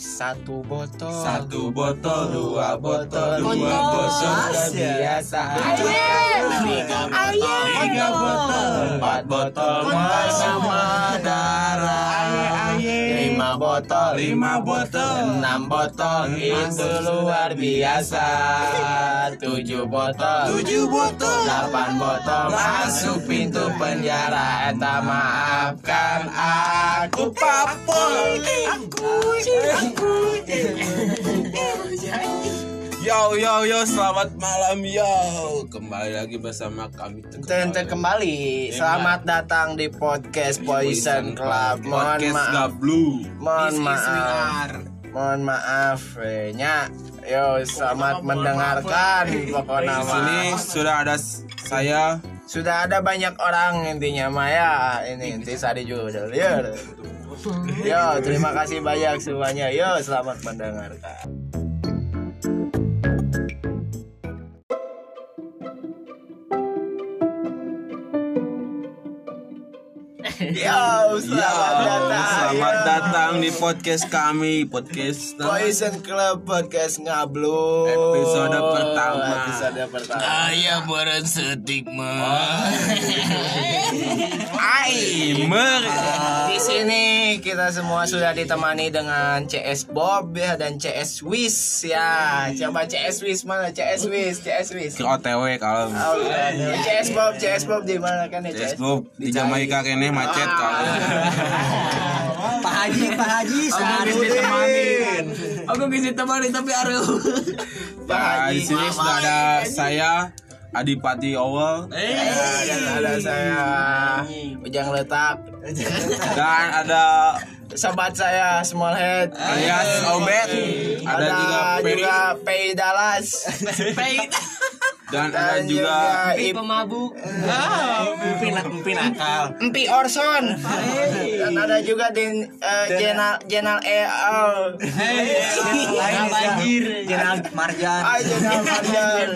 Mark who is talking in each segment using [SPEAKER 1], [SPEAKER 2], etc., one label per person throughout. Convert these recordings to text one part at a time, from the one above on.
[SPEAKER 1] Satu botol
[SPEAKER 2] Satu botol, dua botol, dua
[SPEAKER 3] Botol.
[SPEAKER 2] botol
[SPEAKER 1] kebiasaan
[SPEAKER 3] Ayem.
[SPEAKER 1] ya. Tiga
[SPEAKER 3] Ayem.
[SPEAKER 1] botol Tiga botol Empat botol
[SPEAKER 3] Botol.
[SPEAKER 1] bersama darah Lima botol
[SPEAKER 2] Lima botol.
[SPEAKER 1] Enam botol Itu luar biasa Tujuh botol
[SPEAKER 2] Tujuh botol.
[SPEAKER 1] Delapan botol Masuk pintu penjara Eta maafkan aku
[SPEAKER 2] Papol. Yo yo yo selamat malam yo kembali lagi bersama kami
[SPEAKER 1] Tentu kembali, selamat datang di podcast Poison Club. Mohon
[SPEAKER 2] Podcast
[SPEAKER 1] maaf,
[SPEAKER 2] Gablu
[SPEAKER 1] mohon maaf, mohon maaf, eh, nya. Yo, selamat mendengarkan pokoknya.
[SPEAKER 2] Di
[SPEAKER 1] mah.
[SPEAKER 2] sini sudah ada s- saya
[SPEAKER 1] Sudah ada banyak orang intinya Maya Ya, ini inti sari judul. Yo. Yo, terima kasih banyak semuanya. Yo, selamat mendengarkan. Yo, selamat
[SPEAKER 2] Yo,
[SPEAKER 1] datang.
[SPEAKER 2] selamat
[SPEAKER 1] yo.
[SPEAKER 2] datang di podcast kami podcast
[SPEAKER 1] Poison Club Podcast Ngablu
[SPEAKER 2] Episode pertama.
[SPEAKER 1] Episode pertama
[SPEAKER 3] Ayah barang stigma.
[SPEAKER 2] Aimer
[SPEAKER 1] Di sini kita semua sudah ditemani dengan CS Bob ya dan CS Wiz ya. Coba CS Wiz mana? CS Wiz, CS Wiz.
[SPEAKER 2] ke OTW kalau
[SPEAKER 1] Oh, bukan. CS Bob, CS Bob di mana kan ya CS?
[SPEAKER 2] Facebook di Jamaika kene macet
[SPEAKER 1] Ah.
[SPEAKER 2] kalau
[SPEAKER 4] Pak Haji, Pak Haji,
[SPEAKER 1] Agus
[SPEAKER 4] seharusnya
[SPEAKER 1] ditemanin.
[SPEAKER 4] Aku ngisi temani tapi aruh.
[SPEAKER 1] Pak
[SPEAKER 2] Ya,
[SPEAKER 1] Haji.
[SPEAKER 2] di sini sudah ada saya Adipati Owel
[SPEAKER 1] Ya, dan ada saya Ujang Letak
[SPEAKER 2] dan ada
[SPEAKER 1] Sobat saya Small Head
[SPEAKER 2] alias Obet, ada juga Peri
[SPEAKER 1] juga Pei Dallas
[SPEAKER 4] Pahit.
[SPEAKER 2] dan ada
[SPEAKER 1] dan
[SPEAKER 2] juga
[SPEAKER 1] juga
[SPEAKER 4] Pi
[SPEAKER 1] Ip-
[SPEAKER 4] pemabuk. Empin empin akal.
[SPEAKER 1] Empi Orson dan ada juga Din eh, Jenal Jenal E Al.
[SPEAKER 4] Lain banjir. Jenal Marjan.
[SPEAKER 1] Ay, Jenal Marjan.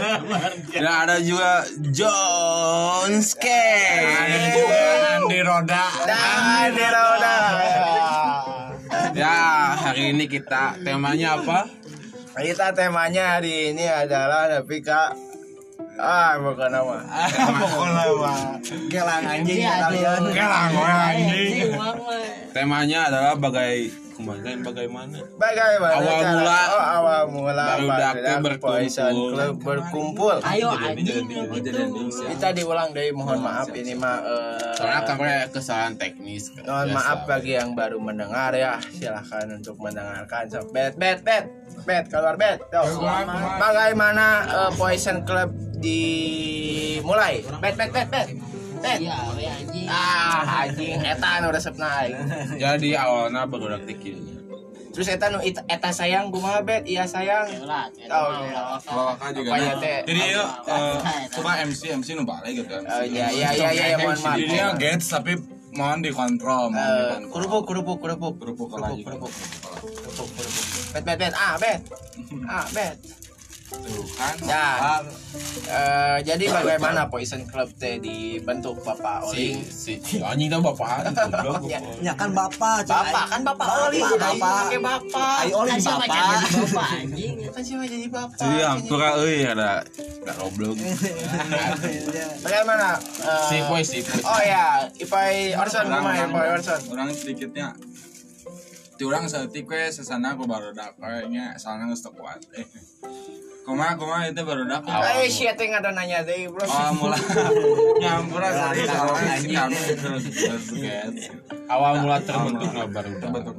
[SPEAKER 2] dan ada juga John Skate.
[SPEAKER 3] Di roda.
[SPEAKER 1] Dan Deroda.
[SPEAKER 2] Ya, hari ini kita temanya apa?
[SPEAKER 1] Kita temanya hari ini adalah tapi kak Ah, bukan nama.
[SPEAKER 2] Ah,
[SPEAKER 4] Gelang anjing.
[SPEAKER 2] ya.
[SPEAKER 4] Gelang
[SPEAKER 2] Temanya adalah bagai kemarin bagaimana?
[SPEAKER 1] Bagaimana
[SPEAKER 2] Awal
[SPEAKER 1] cara?
[SPEAKER 2] mula.
[SPEAKER 1] Oh, awal mula.
[SPEAKER 2] Baru
[SPEAKER 1] Barudak
[SPEAKER 2] Daku berkumpul.
[SPEAKER 1] Poison Club berkumpul.
[SPEAKER 4] Ayo
[SPEAKER 2] Jadi,
[SPEAKER 4] anjing.
[SPEAKER 2] jadi, jadi, jadi, Indonesia.
[SPEAKER 1] gitu? Kita diulang dari mohon maaf ini mah. eh,
[SPEAKER 2] Soalnya kemarin ada kesalahan teknis.
[SPEAKER 1] Mohon
[SPEAKER 2] Biasa.
[SPEAKER 1] Oh, maaf bagi yang baru mendengar ya. Silahkan untuk mendengarkan. So, bet, bet, bet, bet, keluar bet. Tuh. Bagaimana eh, Poison Club dimulai? Bet, bet, bet, bet. Bet.
[SPEAKER 4] Iya, we anjing.
[SPEAKER 1] Ah, anjing eta nu resep aing.
[SPEAKER 2] Jadi awalnya barudak tikilnya.
[SPEAKER 1] Terus eta nu it- eta sayang kumaha bet? Iya sayang.
[SPEAKER 4] Lah,
[SPEAKER 1] Oh,
[SPEAKER 4] eta
[SPEAKER 1] iya.
[SPEAKER 4] mah
[SPEAKER 1] Apa ya teh?
[SPEAKER 5] kan Jadi yuk, eh,
[SPEAKER 4] Nah,
[SPEAKER 5] coba MC MC nu balik gitu. MC.
[SPEAKER 1] Oh iya iya iya iya iya, mohon maaf.
[SPEAKER 5] Jadi dia gets tapi mohon dikontrol, mohon
[SPEAKER 1] Eh,
[SPEAKER 5] dikontrol.
[SPEAKER 1] kerupuk kerupuk kerupuk
[SPEAKER 5] Kerupuk
[SPEAKER 1] kerupuk
[SPEAKER 5] lagi.
[SPEAKER 1] kerupuk kerupuk kerupuk bet bet bet ah bet ah bet
[SPEAKER 5] Tuh kan.
[SPEAKER 1] Ya.
[SPEAKER 5] Ya.
[SPEAKER 1] Eh, jadi bagaimana Poison Club teh dibentuk Bapak
[SPEAKER 2] Si
[SPEAKER 1] Oli?
[SPEAKER 2] si si anjing teh bapak.
[SPEAKER 1] Ya.
[SPEAKER 4] Ya kan bapak. coy.
[SPEAKER 1] Bapak kan Bapak
[SPEAKER 4] Bapak,
[SPEAKER 1] Oli,
[SPEAKER 4] Bapak.
[SPEAKER 1] pakai Bapak.
[SPEAKER 4] Ayo oleh
[SPEAKER 3] Kan sama
[SPEAKER 4] bapak.
[SPEAKER 3] jadi bapak anjing.
[SPEAKER 1] Kan siapa jadi Bapak?
[SPEAKER 2] Oh, Jadi gitu. hampir euy ada ada goblok.
[SPEAKER 6] Iya.
[SPEAKER 1] Bagaimana? eh,
[SPEAKER 2] Si poe si poe.
[SPEAKER 1] Oh ya, Ipai Orson
[SPEAKER 5] Orang,
[SPEAKER 1] gimana Ipai Orson?
[SPEAKER 5] orang sedikitnya. Ti orang seutik we sesana ku barudak we nya soalna geus teu kuat. Eh. Kumaha kumaha itu barudak.
[SPEAKER 2] Awal. Ah,
[SPEAKER 1] Eh, shit yang ada nanya deh, bro.
[SPEAKER 5] Oh, mulai nyampura sorry
[SPEAKER 4] Orang
[SPEAKER 5] sorry
[SPEAKER 4] anjing.
[SPEAKER 5] si kami terus terus gets.
[SPEAKER 2] Awal mula terbentuk barudak.
[SPEAKER 5] Terbentuk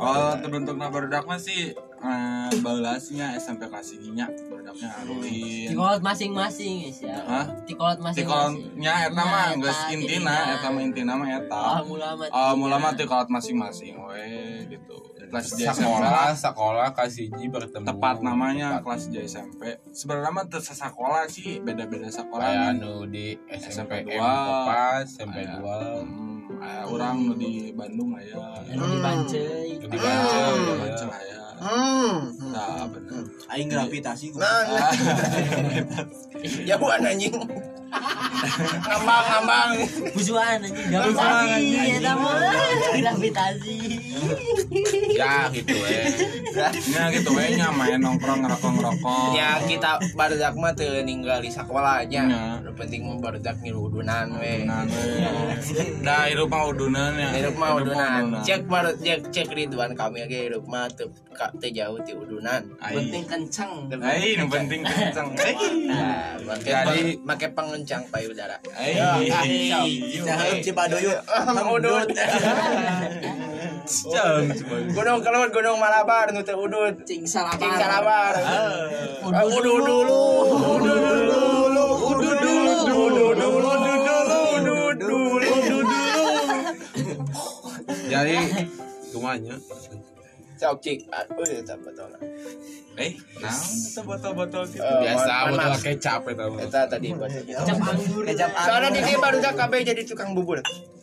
[SPEAKER 5] Oh, terbentuk nah barudak mah sih eh, baulasnya SMP kelas 3 nya barudaknya Arulin.
[SPEAKER 4] Tikolot masing-masing guys ya.
[SPEAKER 5] Hah?
[SPEAKER 4] Tikolot masing-masing.
[SPEAKER 5] Tikolnya eta mah
[SPEAKER 4] Nah,
[SPEAKER 5] geus
[SPEAKER 4] eta,
[SPEAKER 5] intina,
[SPEAKER 4] intina.
[SPEAKER 5] eta mah intina mah eta.
[SPEAKER 4] Oh, mula mah.
[SPEAKER 5] Oh, mula mah tikolot masing-masing we gitu. Kelas J SMP
[SPEAKER 2] Sekolah sekolah kasih ji bertemu.
[SPEAKER 5] tepat namanya
[SPEAKER 2] Tepat.
[SPEAKER 5] kelas J SMP. Sebenarnya mah teu sekolah sih, beda-beda
[SPEAKER 2] Kayak
[SPEAKER 5] sekolah. Hmm,
[SPEAKER 2] anu di SMP
[SPEAKER 5] SMP
[SPEAKER 2] 2
[SPEAKER 5] dua.
[SPEAKER 2] Kopas,
[SPEAKER 1] Ah,
[SPEAKER 2] SMP
[SPEAKER 1] ya.
[SPEAKER 2] 2
[SPEAKER 5] Hmm, aya urang nu di Bandung ya. aya.
[SPEAKER 2] Hmm.
[SPEAKER 4] Anu dibancai.
[SPEAKER 2] Di
[SPEAKER 1] Ah,
[SPEAKER 5] Di
[SPEAKER 2] Bandung.
[SPEAKER 5] Bancel aya.
[SPEAKER 1] Hmm.
[SPEAKER 5] ya. Nah, bener.
[SPEAKER 2] Ah.
[SPEAKER 4] Aing gravitasi
[SPEAKER 1] Nah, nah. jauhan anjing. ngambang ngambang
[SPEAKER 4] Busuan anjing.
[SPEAKER 1] Busuan,
[SPEAKER 4] Gravitasi
[SPEAKER 1] anjing.
[SPEAKER 4] ya tamu. Gravitasi.
[SPEAKER 2] ya gitu eh
[SPEAKER 5] Ya gitu we nya main nongkrong ngerokok-ngerokok.
[SPEAKER 1] ya kita barudak mah teu ninggali sakolanya
[SPEAKER 5] Nya.
[SPEAKER 1] nu penting mah barudak ngiludunan we
[SPEAKER 5] Nah, we. Dah hidup mah udunan ya.
[SPEAKER 1] hidup mah udunan
[SPEAKER 5] Cek.
[SPEAKER 1] cek baru cek cek Ridwan Kamil ge hidup mah teu ka- teu jauh ti udunan
[SPEAKER 5] Ai.
[SPEAKER 4] Penting kenceng.
[SPEAKER 5] Ai, nu penting kenceng. Ai.
[SPEAKER 1] Nah, make peng-
[SPEAKER 5] Jadi-
[SPEAKER 1] make pengencang payudara
[SPEAKER 5] Ai. iya.
[SPEAKER 6] Jangan Cibaduyut.
[SPEAKER 1] Mang udut
[SPEAKER 5] Cang, coba.
[SPEAKER 1] gunung kelut gunung malabar nu teu udut
[SPEAKER 6] Cing salabar.
[SPEAKER 1] cing salabar Eh, udu dulu udu dulu udu dulu udu dulu udu dulu udu dulu udu dulu
[SPEAKER 2] jadi kumanya
[SPEAKER 1] Cok, cik aduh eta botol
[SPEAKER 5] Eh, naon itu botol-botol gitu?
[SPEAKER 1] Eh,
[SPEAKER 2] biasa
[SPEAKER 1] mohon
[SPEAKER 2] botol
[SPEAKER 1] maaf.
[SPEAKER 2] kecap ya, eta mah.
[SPEAKER 1] eta tadi botol
[SPEAKER 4] Kecap anggur.
[SPEAKER 6] Kecap anggur.
[SPEAKER 1] soalnya di dia baru KB jadi tukang bubur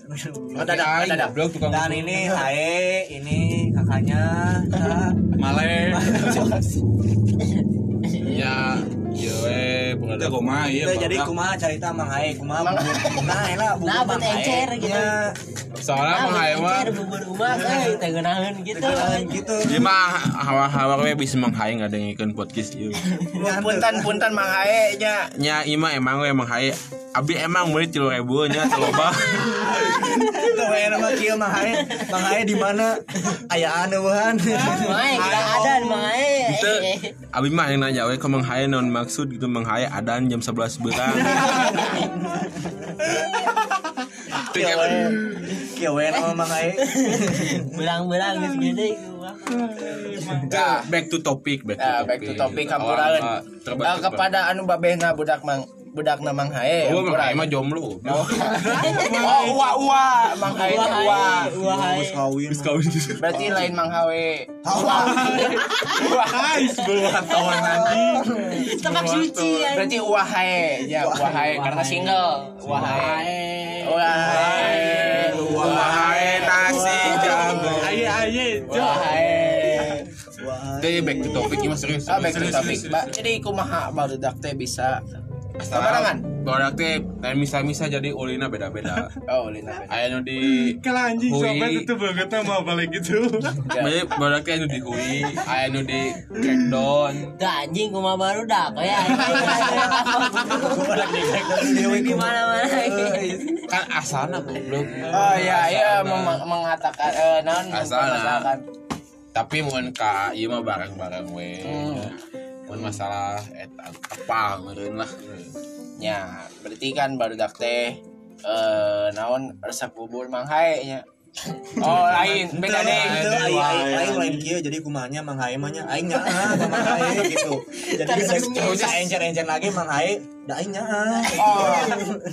[SPEAKER 2] Ai,
[SPEAKER 1] dadak dadak
[SPEAKER 2] goblok, tukang
[SPEAKER 6] Dan
[SPEAKER 2] bubur.
[SPEAKER 6] ini Hae, ini kakaknya.
[SPEAKER 5] Male.
[SPEAKER 2] ya ya we
[SPEAKER 5] Itu
[SPEAKER 2] pengaruh
[SPEAKER 5] kumaha
[SPEAKER 4] Iya,
[SPEAKER 5] ieu?
[SPEAKER 6] Itu jadi kumaha cerita Mang Hae, kumaha bubur. Nah, enak bubur
[SPEAKER 4] Nah,
[SPEAKER 6] Mang
[SPEAKER 4] bet
[SPEAKER 6] Hae.
[SPEAKER 4] encer gitu.
[SPEAKER 6] Ya,
[SPEAKER 2] soalnya
[SPEAKER 4] Nah,
[SPEAKER 2] mah haye mah
[SPEAKER 4] Ada bubur rumah kan, tengenahan gitu.
[SPEAKER 6] kenalan gitu.
[SPEAKER 2] Ieu mah hawa-hawa we bisa menghaye ngadengekeun podcast ieu.
[SPEAKER 1] puntan puntan mang ae nya
[SPEAKER 2] Nya ieu mah emang we menghaye Abi emang murid tilu ribu nya teloba
[SPEAKER 6] Itu wae nama kieu Mang Hae. Mang Hae di mana? Ayaan eueuhan.
[SPEAKER 4] Mae, kita ada di Mae.
[SPEAKER 2] Itu Abi mah yang nanya we kok menghaye non maksud gitu menghaye adan jam 11 berang
[SPEAKER 6] Kieu wae. Kieu wae nama Mang Hae.
[SPEAKER 4] Berang-berang gitu gede.
[SPEAKER 1] Nah,
[SPEAKER 2] Back to topic Back
[SPEAKER 1] nah, back to topic
[SPEAKER 2] Awal,
[SPEAKER 1] kampuraeun
[SPEAKER 2] Pak. Terbalik,
[SPEAKER 1] Eh,
[SPEAKER 2] terbalik.
[SPEAKER 1] kepada anu babehna budak mang budak na mang hae
[SPEAKER 2] Oh,
[SPEAKER 1] kampuraeun.
[SPEAKER 2] mah mah jomblo.
[SPEAKER 1] Oh, uwa uwa mang hae teh uwa.
[SPEAKER 4] Wahai.
[SPEAKER 6] Geus kawin.
[SPEAKER 2] Terus kawin gitu.
[SPEAKER 1] Berarti lain mang hawe.
[SPEAKER 5] Guys, gua wartawan anjing.
[SPEAKER 4] Tempat suci ya.
[SPEAKER 1] Berarti uwa hae. Ya, uwa hae karena single. Uwa hae. Uwa hae. Uwa hae nasi jago.
[SPEAKER 5] Aye aye.
[SPEAKER 1] Uwa hae.
[SPEAKER 6] Wah.
[SPEAKER 2] Jadi back to topic ini mah serius.
[SPEAKER 1] Ah, back to
[SPEAKER 5] Serius,
[SPEAKER 1] topic.
[SPEAKER 5] serius,
[SPEAKER 1] Ba- Jadi kumaha barudak teh bisa Barangan.
[SPEAKER 2] Barak teh dan misa-misa jadi ulina beda-beda.
[SPEAKER 1] Oh, Lina.
[SPEAKER 2] Aya nu di
[SPEAKER 5] Kalau anjing
[SPEAKER 2] Hui.
[SPEAKER 5] sobat itu banget mah balik gitu.
[SPEAKER 2] Jadi barak teh aya nu di hui, aya nu di crackdown.
[SPEAKER 4] Dah anjing kumah baru dah kok ya. Di mana-mana.
[SPEAKER 2] Kan asana goblok.
[SPEAKER 1] Oh ya, iya
[SPEAKER 2] Asana.
[SPEAKER 1] mem- mengatakan eh non
[SPEAKER 2] Asana.
[SPEAKER 1] mempermasalahkan.
[SPEAKER 2] Tapi mun ka ieu mah barang-barang we. Mun masalah eta apa meureun lah.
[SPEAKER 1] Ya, berarti kan barudak teh eh naon resep bubur mang hae nya. Oh, lain beda deh.
[SPEAKER 6] Itu aing aing aing lain kieu jadi kumahnya Mang Hae mah nya aing nyaa ka Mang Hae gitu. Jadi geus geus encer-encer lagi Mang Hae, da aing ah. nyaa.
[SPEAKER 1] Oh,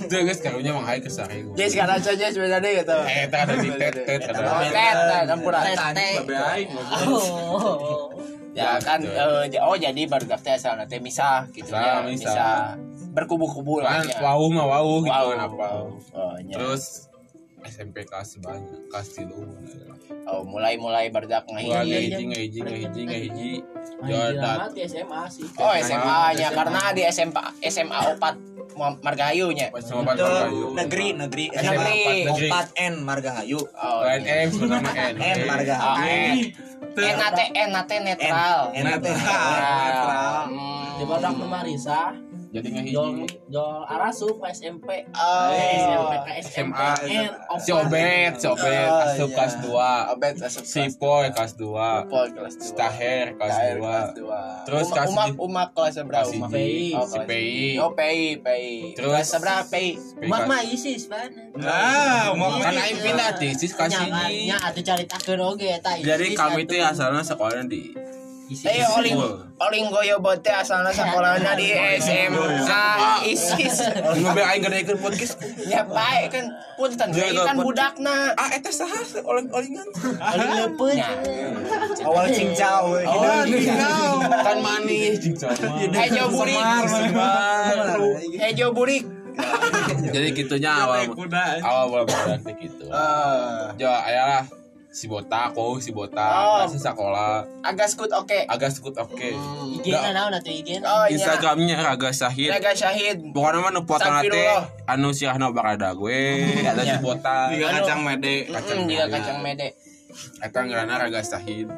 [SPEAKER 2] Teu geus karunya mah haye kesari.
[SPEAKER 1] jadi sekarang saja beda deh gitu.
[SPEAKER 2] Eh, eta ada di tet tet
[SPEAKER 1] Oh,
[SPEAKER 2] ada.
[SPEAKER 1] tet, tet, campuran.
[SPEAKER 4] Oh.
[SPEAKER 1] Ya kan, eh, j- oh jadi barudak teh asal teh misah gitu ya,
[SPEAKER 2] Misah, misah.
[SPEAKER 1] misah. Berkubu-kubu lah
[SPEAKER 2] Kan
[SPEAKER 1] ya.
[SPEAKER 2] wau mah wau gitu
[SPEAKER 1] Wow.
[SPEAKER 2] kan apa.
[SPEAKER 1] Oh, nya.
[SPEAKER 2] Terus SMP kelas banyak, kelas tilu.
[SPEAKER 1] Oh, mulai-mulai barudak
[SPEAKER 2] Gua
[SPEAKER 1] ngahiji.
[SPEAKER 2] ngehiji, ngehiji, ngehiji, ngehiji.
[SPEAKER 4] Anjing,
[SPEAKER 2] Jordan.
[SPEAKER 4] amat di SMA sih.
[SPEAKER 1] Oh, SMA-nya karena di SMA SMA Opat Mu- Margahayu nya.
[SPEAKER 2] Sama Pak
[SPEAKER 6] Itu
[SPEAKER 2] Kayu.
[SPEAKER 6] negeri negeri
[SPEAKER 1] Negeri.
[SPEAKER 2] Negeri.
[SPEAKER 6] 4 N Margahayu
[SPEAKER 1] Oh,
[SPEAKER 2] Lain eh,
[SPEAKER 1] nya.
[SPEAKER 2] M bernama N.
[SPEAKER 6] N
[SPEAKER 1] Oh,
[SPEAKER 6] Margahayu
[SPEAKER 1] eh. Enate enate
[SPEAKER 6] N
[SPEAKER 1] netral.
[SPEAKER 6] N teh
[SPEAKER 1] Netral.
[SPEAKER 4] Di badak nama Risa,
[SPEAKER 2] Jadi
[SPEAKER 4] Jol
[SPEAKER 2] ngehiji.
[SPEAKER 4] Jol Arasup SMP, SMP
[SPEAKER 1] Oh.
[SPEAKER 4] ke
[SPEAKER 2] SMA.
[SPEAKER 4] SMPN,
[SPEAKER 5] Iya,
[SPEAKER 2] Si Obet, si Obet,
[SPEAKER 1] Oh,
[SPEAKER 2] asup
[SPEAKER 1] iya.
[SPEAKER 2] kelas 2.
[SPEAKER 1] Abet asup
[SPEAKER 2] Si
[SPEAKER 1] kelas
[SPEAKER 2] Poy
[SPEAKER 1] dua.
[SPEAKER 2] kelas 2.
[SPEAKER 1] Pol kelas 2.
[SPEAKER 2] Staher kelas 2. Terus
[SPEAKER 1] Terus
[SPEAKER 2] kelas
[SPEAKER 1] umak
[SPEAKER 2] di-
[SPEAKER 1] umak kelas seberapa
[SPEAKER 2] kelas
[SPEAKER 1] umak?
[SPEAKER 2] di-
[SPEAKER 1] Oh,
[SPEAKER 2] Si
[SPEAKER 1] kelas-
[SPEAKER 2] PI.
[SPEAKER 1] Oh, PI, PI.
[SPEAKER 2] Terus-
[SPEAKER 1] Kelas seberapa PI?
[SPEAKER 4] Mak mah Isis ban.
[SPEAKER 5] Nah, mau
[SPEAKER 2] Kan aing pindah di sis kelas
[SPEAKER 4] Nya
[SPEAKER 2] hiji.
[SPEAKER 4] atuh caritakeun oge eta Isis.
[SPEAKER 2] Jadi ya. kami
[SPEAKER 4] atuh.
[SPEAKER 2] teh asalnya sekolahnya di
[SPEAKER 4] Isis.
[SPEAKER 1] Eh, oling
[SPEAKER 2] Full.
[SPEAKER 1] oling goyo bote asalna sekolahna di SMK Ya, ISIS.
[SPEAKER 2] Oh. Mau be aing gedekeun podcast.
[SPEAKER 1] Ya baik kan punten
[SPEAKER 2] Ya,
[SPEAKER 1] PI kan
[SPEAKER 2] pun-
[SPEAKER 1] budakna.
[SPEAKER 2] Ah eta saha oleh-olengan.
[SPEAKER 4] Oling leupeut.
[SPEAKER 6] awal
[SPEAKER 1] Oh,
[SPEAKER 6] cincau
[SPEAKER 1] Eh,
[SPEAKER 2] Kan manis jeung
[SPEAKER 1] Hejo burik. Hejo burik.
[SPEAKER 2] Jadi gitunya awal
[SPEAKER 5] kuda.
[SPEAKER 2] awal mula berarti gitu.
[SPEAKER 1] Eh,
[SPEAKER 2] Jo, ayalah si botak oh si
[SPEAKER 1] Oh.
[SPEAKER 2] botak masih sekolah
[SPEAKER 1] Agak skut oke.
[SPEAKER 2] agak sekut oke
[SPEAKER 1] Hmm.
[SPEAKER 4] IG na naon Iya, nah, atuh IG na.
[SPEAKER 1] Oh iya.
[SPEAKER 2] Instagramnya Raga Syahid
[SPEAKER 1] Naga Syahid.
[SPEAKER 2] pokoknya mah nu potong teh
[SPEAKER 1] Astagfirullah.
[SPEAKER 2] anu si Ahna barada gue ada si botak
[SPEAKER 5] Tiga kacang mede.
[SPEAKER 1] Kacang
[SPEAKER 2] Kacang
[SPEAKER 1] dia
[SPEAKER 2] mede.
[SPEAKER 1] kacang mede.
[SPEAKER 2] eta ngerana Raga Syahid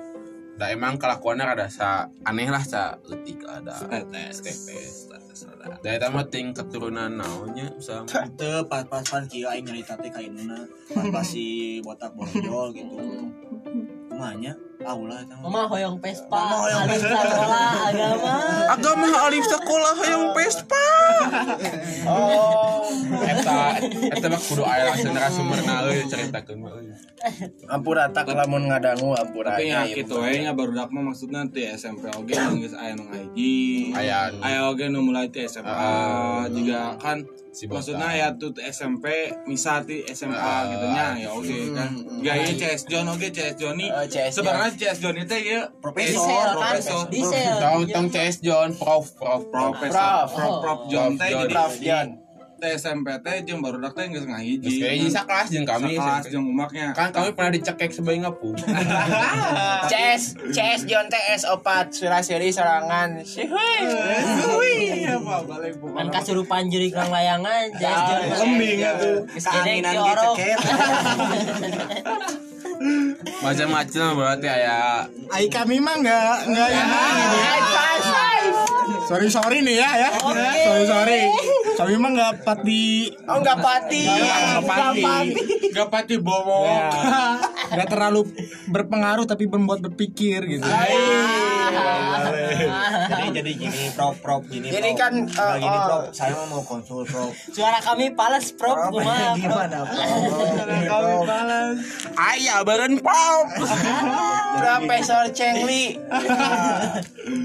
[SPEAKER 2] da emang kelakuannya rada sa aneh lah sa eutik ada
[SPEAKER 5] Tetes.
[SPEAKER 2] tetes da eta mah ting keturunan naonnya usah
[SPEAKER 6] itu pas-pasan kia aing nyari teh kainuna pas-pas si botak bonjol gitu kumanya aula eta mah
[SPEAKER 4] Mama hoyong Vespa,
[SPEAKER 6] Mama hoyong
[SPEAKER 4] alif
[SPEAKER 6] Vespa.
[SPEAKER 4] sekolah agama.
[SPEAKER 2] agama alif sekolah yang pespa
[SPEAKER 1] Oh.
[SPEAKER 2] eta eta mah kudu aya langsung sumberna euy caritakeun mah euy
[SPEAKER 1] Ampura tak lamun ngadangu ampura.
[SPEAKER 5] Tapi ya
[SPEAKER 1] Iya, iya.
[SPEAKER 5] gitu we nya barudak mah maksudna ti SMP oge geus aya nu IG.
[SPEAKER 2] Aya.
[SPEAKER 5] Aya oge nu mulai ti
[SPEAKER 2] Ah.
[SPEAKER 5] SMA juga kan
[SPEAKER 2] si botak
[SPEAKER 5] maksudnya ya tuh SMP misal ti SMA
[SPEAKER 2] Ah,
[SPEAKER 5] gitu nya ya oke kan
[SPEAKER 1] Hmm.
[SPEAKER 5] gaya CS John oke CS Johnny
[SPEAKER 1] Eh, CS
[SPEAKER 5] sebenarnya CS Johnny teh ya
[SPEAKER 4] Diesel
[SPEAKER 6] profesor
[SPEAKER 4] kan, Iya.
[SPEAKER 5] profesor.
[SPEAKER 1] Iya,
[SPEAKER 4] diesel.
[SPEAKER 2] Tong tong CS John prof prof prof
[SPEAKER 5] profesor
[SPEAKER 1] Prof.
[SPEAKER 5] prof prof John teh
[SPEAKER 2] Prof.
[SPEAKER 5] jadi
[SPEAKER 1] Prof John.
[SPEAKER 5] teh SMP teh jeung barudak teh geus
[SPEAKER 2] Terus kayaknya
[SPEAKER 5] ngahiji
[SPEAKER 2] bisa iya. kelas jeung kami
[SPEAKER 5] kelas
[SPEAKER 2] SMP.
[SPEAKER 5] jeung umaknya
[SPEAKER 2] kan kami pernah dicekek sebagai ngepung
[SPEAKER 1] CS CS John TS opat surasiri serangan. Sihui.
[SPEAKER 5] Wih, iya, apa balik
[SPEAKER 4] Kan
[SPEAKER 5] bukan
[SPEAKER 4] kasurupan juri kang layangan, jas
[SPEAKER 1] Ah,
[SPEAKER 4] jurnas.
[SPEAKER 1] lembing
[SPEAKER 6] Iya,
[SPEAKER 1] gitu, atuh.
[SPEAKER 6] keanginan ge
[SPEAKER 1] Iya,
[SPEAKER 6] ceket
[SPEAKER 2] macam-macam berarti ya. aya
[SPEAKER 7] Ai kami mah nggak nggak yang
[SPEAKER 4] Ah,
[SPEAKER 7] gitu ya. Sorry sorry nih ya ya. Sorry sorry. Kami mah nggak pati
[SPEAKER 1] Oh nggak pati. Nggak pati. Iya.
[SPEAKER 5] gak pati bobo
[SPEAKER 7] nggak terlalu berpengaruh tapi membuat berpikir gitu.
[SPEAKER 6] jadi jadi gini prop prop gini
[SPEAKER 1] Jadi
[SPEAKER 6] prop.
[SPEAKER 1] kan,
[SPEAKER 6] Nah,
[SPEAKER 1] eh,
[SPEAKER 6] gini
[SPEAKER 1] oh.
[SPEAKER 6] prop saya mau mau konsul prop
[SPEAKER 4] Suara kami pales, Prof.
[SPEAKER 6] Prop,
[SPEAKER 4] Kumaha, Prof?
[SPEAKER 6] gimana prop
[SPEAKER 2] aya beureun pop
[SPEAKER 1] Profesor Cheng Li.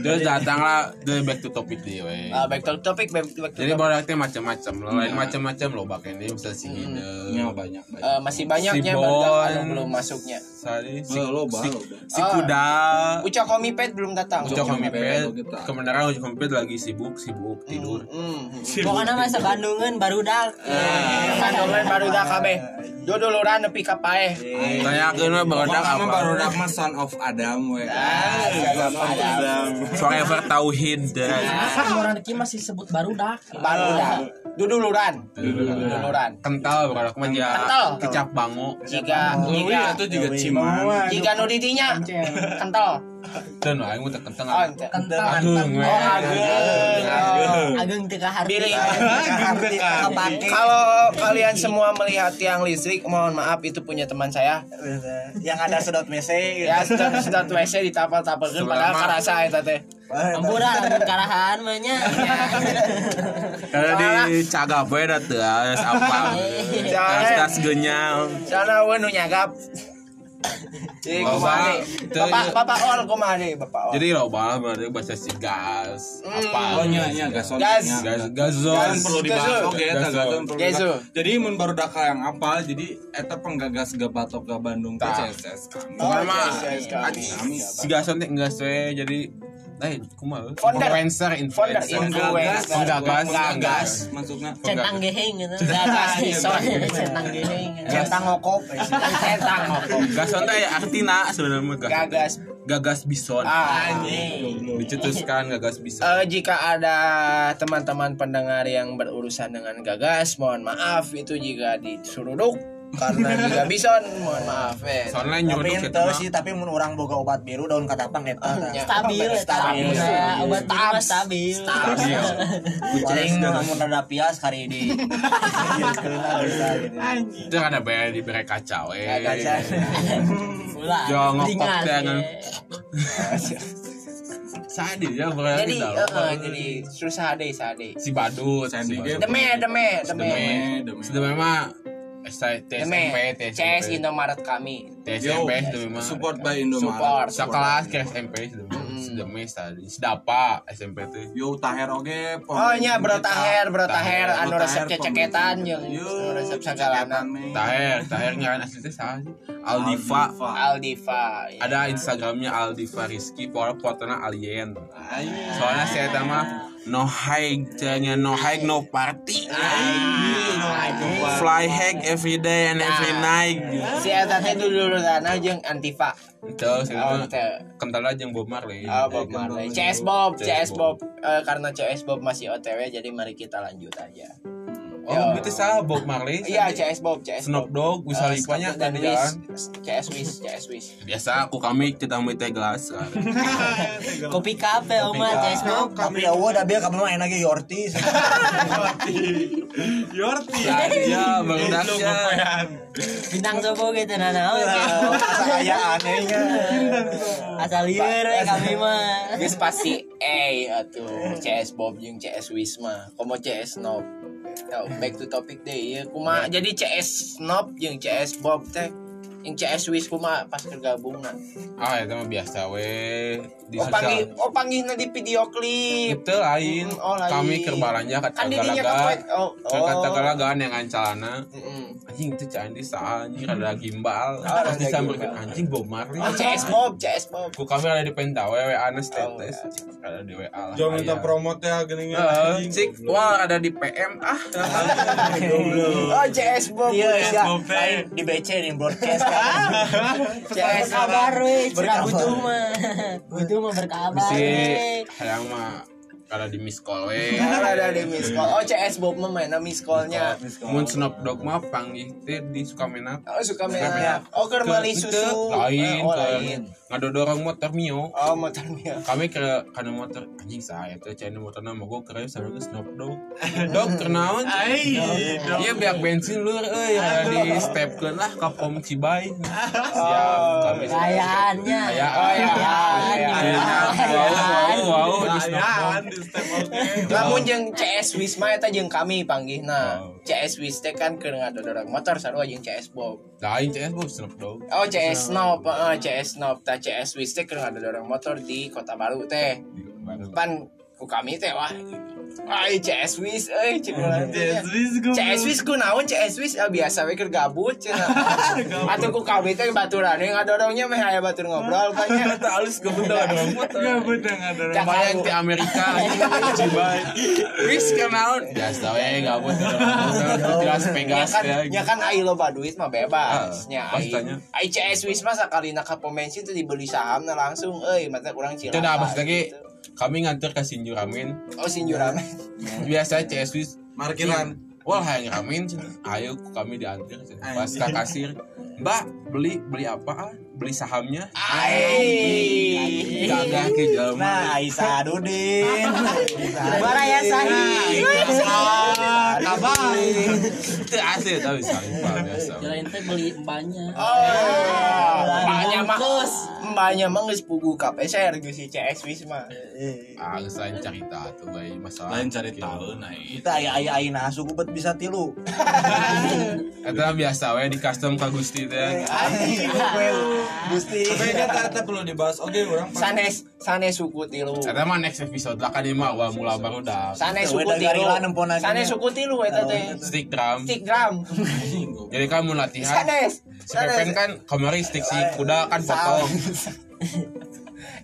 [SPEAKER 2] terus datanglah the back to topic deh we
[SPEAKER 1] Ah, back to topic, back to back to
[SPEAKER 2] jadi
[SPEAKER 1] topic. Hmm.
[SPEAKER 2] produknya macam-macam lain macam-macam loh pakai ini bisa si
[SPEAKER 5] ya
[SPEAKER 2] hidung
[SPEAKER 5] banyak banyak
[SPEAKER 1] Eh, masih banyaknya
[SPEAKER 2] Si
[SPEAKER 1] Bang,
[SPEAKER 2] Bon.
[SPEAKER 1] yang belum masuknya.
[SPEAKER 2] sari si,
[SPEAKER 5] lo lo
[SPEAKER 2] si,
[SPEAKER 5] balo
[SPEAKER 2] si kuda
[SPEAKER 1] Ucok Komipet belum datang.
[SPEAKER 2] ucok
[SPEAKER 5] Komipet,
[SPEAKER 2] kompet kebenaran ucok kompet lagi sibuk sibuk tidur
[SPEAKER 1] Hmm.
[SPEAKER 4] Pokoknya masa Bandungan barudak.
[SPEAKER 1] Kandolan Kan baru dah kabeh. Dodo lurah nepi ka paeh.
[SPEAKER 2] tanya ke mah
[SPEAKER 5] Barudak
[SPEAKER 2] barudak apa Ah,
[SPEAKER 5] mah barudak mah son of Adam we.
[SPEAKER 1] son of Adam.
[SPEAKER 2] forever tauhid
[SPEAKER 4] ya. Orang Reki masih sebut barudak.
[SPEAKER 1] Baru dah. Dodo luran. Dodo luran.
[SPEAKER 2] kental barudak mah ya
[SPEAKER 1] Kental.
[SPEAKER 2] kecap bango
[SPEAKER 1] Ah. Jika
[SPEAKER 2] Ya,
[SPEAKER 5] Lewi
[SPEAKER 1] jika
[SPEAKER 5] atau juga ciman.
[SPEAKER 1] jika nu di dinya kental.
[SPEAKER 2] dan aing udah kental
[SPEAKER 1] Oh, ente.
[SPEAKER 2] agung we.
[SPEAKER 1] Oh, ageung. Oh.
[SPEAKER 4] Ageng teka
[SPEAKER 1] Biri.
[SPEAKER 4] harti.
[SPEAKER 6] kepake
[SPEAKER 1] Kalau kalian semua melihat tiang listrik, mohon maaf itu punya teman saya.
[SPEAKER 6] yang ada sedot gitu. mese
[SPEAKER 1] Ya sudah sudah WC ditapal-tapalkeun padahal
[SPEAKER 2] Selama-
[SPEAKER 1] karasa eta teh.
[SPEAKER 4] Ampura, ageng karahan mah nya.
[SPEAKER 2] Karena di cagap we da teu asa ya, apa. Tas tas genyal.
[SPEAKER 1] Sana we nu nyagap. ya. Jadi
[SPEAKER 2] Loba.
[SPEAKER 1] kumaha deui? Bapak bapak ol kumaha deui, bapak ol.
[SPEAKER 2] Jadi loba lah berarti bahasa si gas
[SPEAKER 5] Oh
[SPEAKER 1] Hmm.
[SPEAKER 2] apa. iya,
[SPEAKER 5] nya nya gason.
[SPEAKER 1] Gas.
[SPEAKER 5] nya.
[SPEAKER 2] Gas
[SPEAKER 5] Gason
[SPEAKER 2] gazon.
[SPEAKER 5] perlu dibahas
[SPEAKER 1] Gason.
[SPEAKER 5] oke eta
[SPEAKER 2] Gason.
[SPEAKER 5] gason perlu dibahas.
[SPEAKER 1] Gason.
[SPEAKER 5] Jadi mun barudak yang apal jadi eta penggagas Gabatok Ga Bandung ke
[SPEAKER 2] Tah.
[SPEAKER 5] CSS
[SPEAKER 1] Oh, iya,
[SPEAKER 5] kami.
[SPEAKER 2] Bukan mah.
[SPEAKER 1] yes, yes, kami.
[SPEAKER 5] Kami ya,
[SPEAKER 2] Si gason teh enggak sesuai jadi eh kumaha?
[SPEAKER 1] Founder.
[SPEAKER 2] Influencer
[SPEAKER 1] Founder,
[SPEAKER 2] influencer.
[SPEAKER 5] Penggagas,
[SPEAKER 2] Penggagas,
[SPEAKER 5] penggagas, maksudnya
[SPEAKER 4] Centang geheng gitu. Gagas nih, soalnya centang geheng.
[SPEAKER 6] centang ngokop
[SPEAKER 1] ya. Centang ngokok.
[SPEAKER 2] Gason teh aya artina sebenarnya gason.
[SPEAKER 1] Gagas.
[SPEAKER 2] Gagas bison.
[SPEAKER 1] Ah.
[SPEAKER 2] Dicetuskan gagas bison.
[SPEAKER 1] Eh, jika ada teman-teman pendengar yang berurusan dengan gagas, mohon maaf itu jika disuruduk karena jika bison, mohon maaf. Eh.
[SPEAKER 2] Soalnya
[SPEAKER 6] tapi
[SPEAKER 2] nyuruduk
[SPEAKER 6] ente sih tapi mun urang boga obat biru daun katapang eta tah.
[SPEAKER 1] Ya.
[SPEAKER 4] Stabil, stabil. Ya, Obat biru mah stabil.
[SPEAKER 2] Stabil.
[SPEAKER 6] paling namun rada pias hari Gitu. di
[SPEAKER 2] Itu kan ada bayar di eh. bere kaca we.
[SPEAKER 4] Ulah,
[SPEAKER 2] Jangan ngokok
[SPEAKER 4] ringan,
[SPEAKER 2] teh,
[SPEAKER 4] ya.
[SPEAKER 2] ngan. Sadis ya bere.
[SPEAKER 1] Jadi,
[SPEAKER 2] di
[SPEAKER 1] eh,
[SPEAKER 2] dalam.
[SPEAKER 1] eh, jadi susah deh, sade.
[SPEAKER 2] si badut
[SPEAKER 5] Sandy
[SPEAKER 2] si badut.
[SPEAKER 5] Game.
[SPEAKER 1] Deme, deme, deme.
[SPEAKER 5] Deme.
[SPEAKER 2] sudah memang ST,
[SPEAKER 1] Deme.
[SPEAKER 2] TSMP
[SPEAKER 1] CS
[SPEAKER 2] TSMP
[SPEAKER 1] Indomaret kami.
[SPEAKER 2] TSMP sudah memang
[SPEAKER 5] support by Indomaret.
[SPEAKER 1] Support. Hmm.
[SPEAKER 2] sekelas ke SMP sudah memang sudah memang tadi sedapa SMP tuh
[SPEAKER 5] Yo Taher oge.
[SPEAKER 1] Oh nya bro taher, bro taher,
[SPEAKER 5] iya, Taher,
[SPEAKER 1] anu
[SPEAKER 5] Bro
[SPEAKER 1] resep
[SPEAKER 5] Taher,
[SPEAKER 1] ceceketan
[SPEAKER 5] pemimpin.
[SPEAKER 1] jeung
[SPEAKER 5] Yo,
[SPEAKER 1] anu, resep
[SPEAKER 5] ceceketan,
[SPEAKER 1] sagalana.
[SPEAKER 5] men.
[SPEAKER 2] Tahir Tahir ngaran asli teh salah sih Aldiva
[SPEAKER 1] Aldiva. ya.
[SPEAKER 2] ada Instagramnya Aldiva Rizky pokoknya fotonya alien
[SPEAKER 5] Ayo.
[SPEAKER 1] Ah.
[SPEAKER 2] soalnya saya si Eta mah no hike tanya no hike no party
[SPEAKER 1] Ah. Anjing.
[SPEAKER 2] fly hike every day and every
[SPEAKER 1] Ah.
[SPEAKER 2] night
[SPEAKER 1] Si Eta teh dulu dulu tanah jeung Antifa.
[SPEAKER 2] itu
[SPEAKER 1] Oh,
[SPEAKER 2] sebenarnya
[SPEAKER 1] teh.
[SPEAKER 2] kental aja yang Bob Marley gitu.
[SPEAKER 1] Oh, Bob Marley. CS Bob, CS Bob. Eh, karena CS Bob masih OTW jadi mari kita lanjut aja.
[SPEAKER 2] oh berarti salah Bob Marley
[SPEAKER 1] Iya, CS Bob, CS
[SPEAKER 2] Snoop Dogg bisa
[SPEAKER 1] Eh,
[SPEAKER 2] lipanya
[SPEAKER 1] Scott
[SPEAKER 2] kan
[SPEAKER 1] dan
[SPEAKER 2] di
[SPEAKER 1] Wiz.
[SPEAKER 2] jalan
[SPEAKER 1] CS Wiz, CS Wiz.
[SPEAKER 2] biasa aku kami kita mau teh gelas lah.
[SPEAKER 4] Kopi kafe, Oma, guys, no.
[SPEAKER 6] Tapi ya udah dia kamu mah enaknya Yorti.
[SPEAKER 1] Iya,
[SPEAKER 2] ya bang Dasya
[SPEAKER 4] Bintang sopo gitu, nana. oke.
[SPEAKER 6] Saya anehnya.
[SPEAKER 4] Asal liur, eh, kami mah.
[SPEAKER 1] Geus pasti eh atuh CS Bob jeung CS Wiz mah. Komo CS Snoop. Yo, back to topic deh. Iya, kumaha jadi CS Snoop jeung CS Bob teh yang CS Wiz kumaha pas tergabung nah.
[SPEAKER 2] ah itu mah biasa weh di
[SPEAKER 1] Oh panggil, oh panggilnya di video klip.
[SPEAKER 2] itu lain
[SPEAKER 1] Oh, lain.
[SPEAKER 2] kami kerbalanya
[SPEAKER 1] Kan didinya
[SPEAKER 2] kata-kata
[SPEAKER 1] kepoet. Oh, oh.
[SPEAKER 2] Kan kata-kata yang ancalana
[SPEAKER 1] Mm-mm.
[SPEAKER 2] anjing itu candi sah anjing ada gimbal
[SPEAKER 1] Ah, Hmm. ada
[SPEAKER 2] terus disamberkan
[SPEAKER 1] gimbal.
[SPEAKER 2] anjing Bob Marley
[SPEAKER 1] Oh, CS Bob, CS Bob.
[SPEAKER 2] ku kami ada di penta wewe anes
[SPEAKER 1] Oh,
[SPEAKER 2] tetes ada di WA
[SPEAKER 1] iya.
[SPEAKER 2] lah
[SPEAKER 5] Jangan minta
[SPEAKER 2] ayah.
[SPEAKER 5] promote ya gini
[SPEAKER 2] Heeh, cik wah ada di PM ah
[SPEAKER 1] Oh, CS Bob.
[SPEAKER 6] Iya, iya.
[SPEAKER 5] Bob,
[SPEAKER 6] Lain
[SPEAKER 5] eh.
[SPEAKER 6] di BC nih broadcast kan.
[SPEAKER 1] CS
[SPEAKER 4] Berkabar, weh. Cerah
[SPEAKER 6] Berkabar.
[SPEAKER 4] butuh mah. Butuh mah berkabar,
[SPEAKER 2] bisi
[SPEAKER 4] weh.
[SPEAKER 2] hayang mah ada di miss call we
[SPEAKER 1] ada di miss call. Oh, CS Bob mah mainna miss call-nya.
[SPEAKER 2] mun Snoop Dogg mah panggih teh di Sukamenap
[SPEAKER 1] Oh, suka
[SPEAKER 2] Suka
[SPEAKER 1] mainan. Oh, keur meuli susu.
[SPEAKER 2] lain
[SPEAKER 1] Oh,
[SPEAKER 2] ke
[SPEAKER 1] lain.
[SPEAKER 2] ngadodorong motor Mio
[SPEAKER 1] Oh, motornya.
[SPEAKER 2] kami ke karena motor anjing saya itu cina motor nama gue keren sama gue Snoop Dogg Dogg kenaon iya biar bensin lu eh di step ke lah ke pom Cibai siap kami
[SPEAKER 4] Kayaannya.
[SPEAKER 1] Oh,
[SPEAKER 2] Kayaan.
[SPEAKER 1] ya.
[SPEAKER 4] Kayaan.
[SPEAKER 2] wow wow iya. di Snoop Dogg
[SPEAKER 1] Lamun jeung CS Wisma eta jeung kami Nah, panggihna. CS Wis teh kan keur ngadodorong motor sarua jeung CS Bob.
[SPEAKER 2] lain CS bu Snoop Dogg
[SPEAKER 1] Oh CS Snob, heeh CS Snob, tah CS Wis teh keur ngadodorong motor di Kota Baru teh. Pan ku kami teh wah. Ai CS Wis euy cikulan. CS Wis ku. CS Wis ku naon CS Wis ah, biasa we keur gabut cenah. Atuh ku kami teh baturan yang ngadorongnya meh aya batur ngobrol banyak.
[SPEAKER 2] kita halus ke benda ada motor
[SPEAKER 1] Cak Agung.
[SPEAKER 2] bayang di Amerika anjing, Cibai wis kenaon biasa we gak butuh jelas
[SPEAKER 1] Ya
[SPEAKER 2] pegas
[SPEAKER 1] kan,
[SPEAKER 2] ya
[SPEAKER 1] ya kan ai loba duit mah bebas.
[SPEAKER 2] Ah,
[SPEAKER 1] Nya
[SPEAKER 2] pas
[SPEAKER 1] ai.
[SPEAKER 2] tanya.
[SPEAKER 1] Ai CS Wisma sakalina ka pemensin teh dibeli saham nah langsung euy mata kurang cilaka.
[SPEAKER 2] itu dah pas lagi
[SPEAKER 1] gitu.
[SPEAKER 2] kami nganter ke Sinjuramin
[SPEAKER 1] Oh sinjurame.
[SPEAKER 2] biasa CS Swiss
[SPEAKER 5] Markiran.
[SPEAKER 2] Wah, yang ramin, ayo kami diantar. Pas ke kasir, Mbak beli beli apa? ah? Beli sahamnya?
[SPEAKER 1] Ai.
[SPEAKER 2] Gagah ke jalan.
[SPEAKER 6] Nah, Aisyah Dudin.
[SPEAKER 4] Bara ya, Sahi.
[SPEAKER 2] Itu asli tapi saling Pak, biasa.
[SPEAKER 4] Kirain teh beli banyak.
[SPEAKER 1] Oh, mbaknya mah
[SPEAKER 4] Bungkus.
[SPEAKER 1] mbaknya mah geus pugu KPSR geus si CS Wisma.
[SPEAKER 2] Ah, geus lain cerita tuh bayi masalah.
[SPEAKER 5] Lain cari tahu nah. naik.
[SPEAKER 1] Iya.
[SPEAKER 6] Kita ayah ayah ayah nasu kubet nah, bisa tilu.
[SPEAKER 2] Eta biasa we di custom ka Gusti teh.
[SPEAKER 1] ah.
[SPEAKER 6] Anjing, kubet. Gusti.
[SPEAKER 5] Tapi ini tetap perlu dibahas. Oke, orang
[SPEAKER 1] Sanes sanes suku tilu.
[SPEAKER 2] Eta mah next episode lah kan mah wah mula baru dah.
[SPEAKER 1] Sanes
[SPEAKER 6] Weh,
[SPEAKER 1] suku
[SPEAKER 6] dari
[SPEAKER 1] tilu.
[SPEAKER 6] Arilan empon aja.
[SPEAKER 1] Sanes suku tilu eta teh.
[SPEAKER 2] Stick drum.
[SPEAKER 1] Stick drum.
[SPEAKER 2] Jadi kamu
[SPEAKER 1] Iya.
[SPEAKER 2] latihan.
[SPEAKER 1] Sanes.
[SPEAKER 2] Si Pepen
[SPEAKER 1] Sanes.
[SPEAKER 2] kan kemarin stick si kuda kan potong.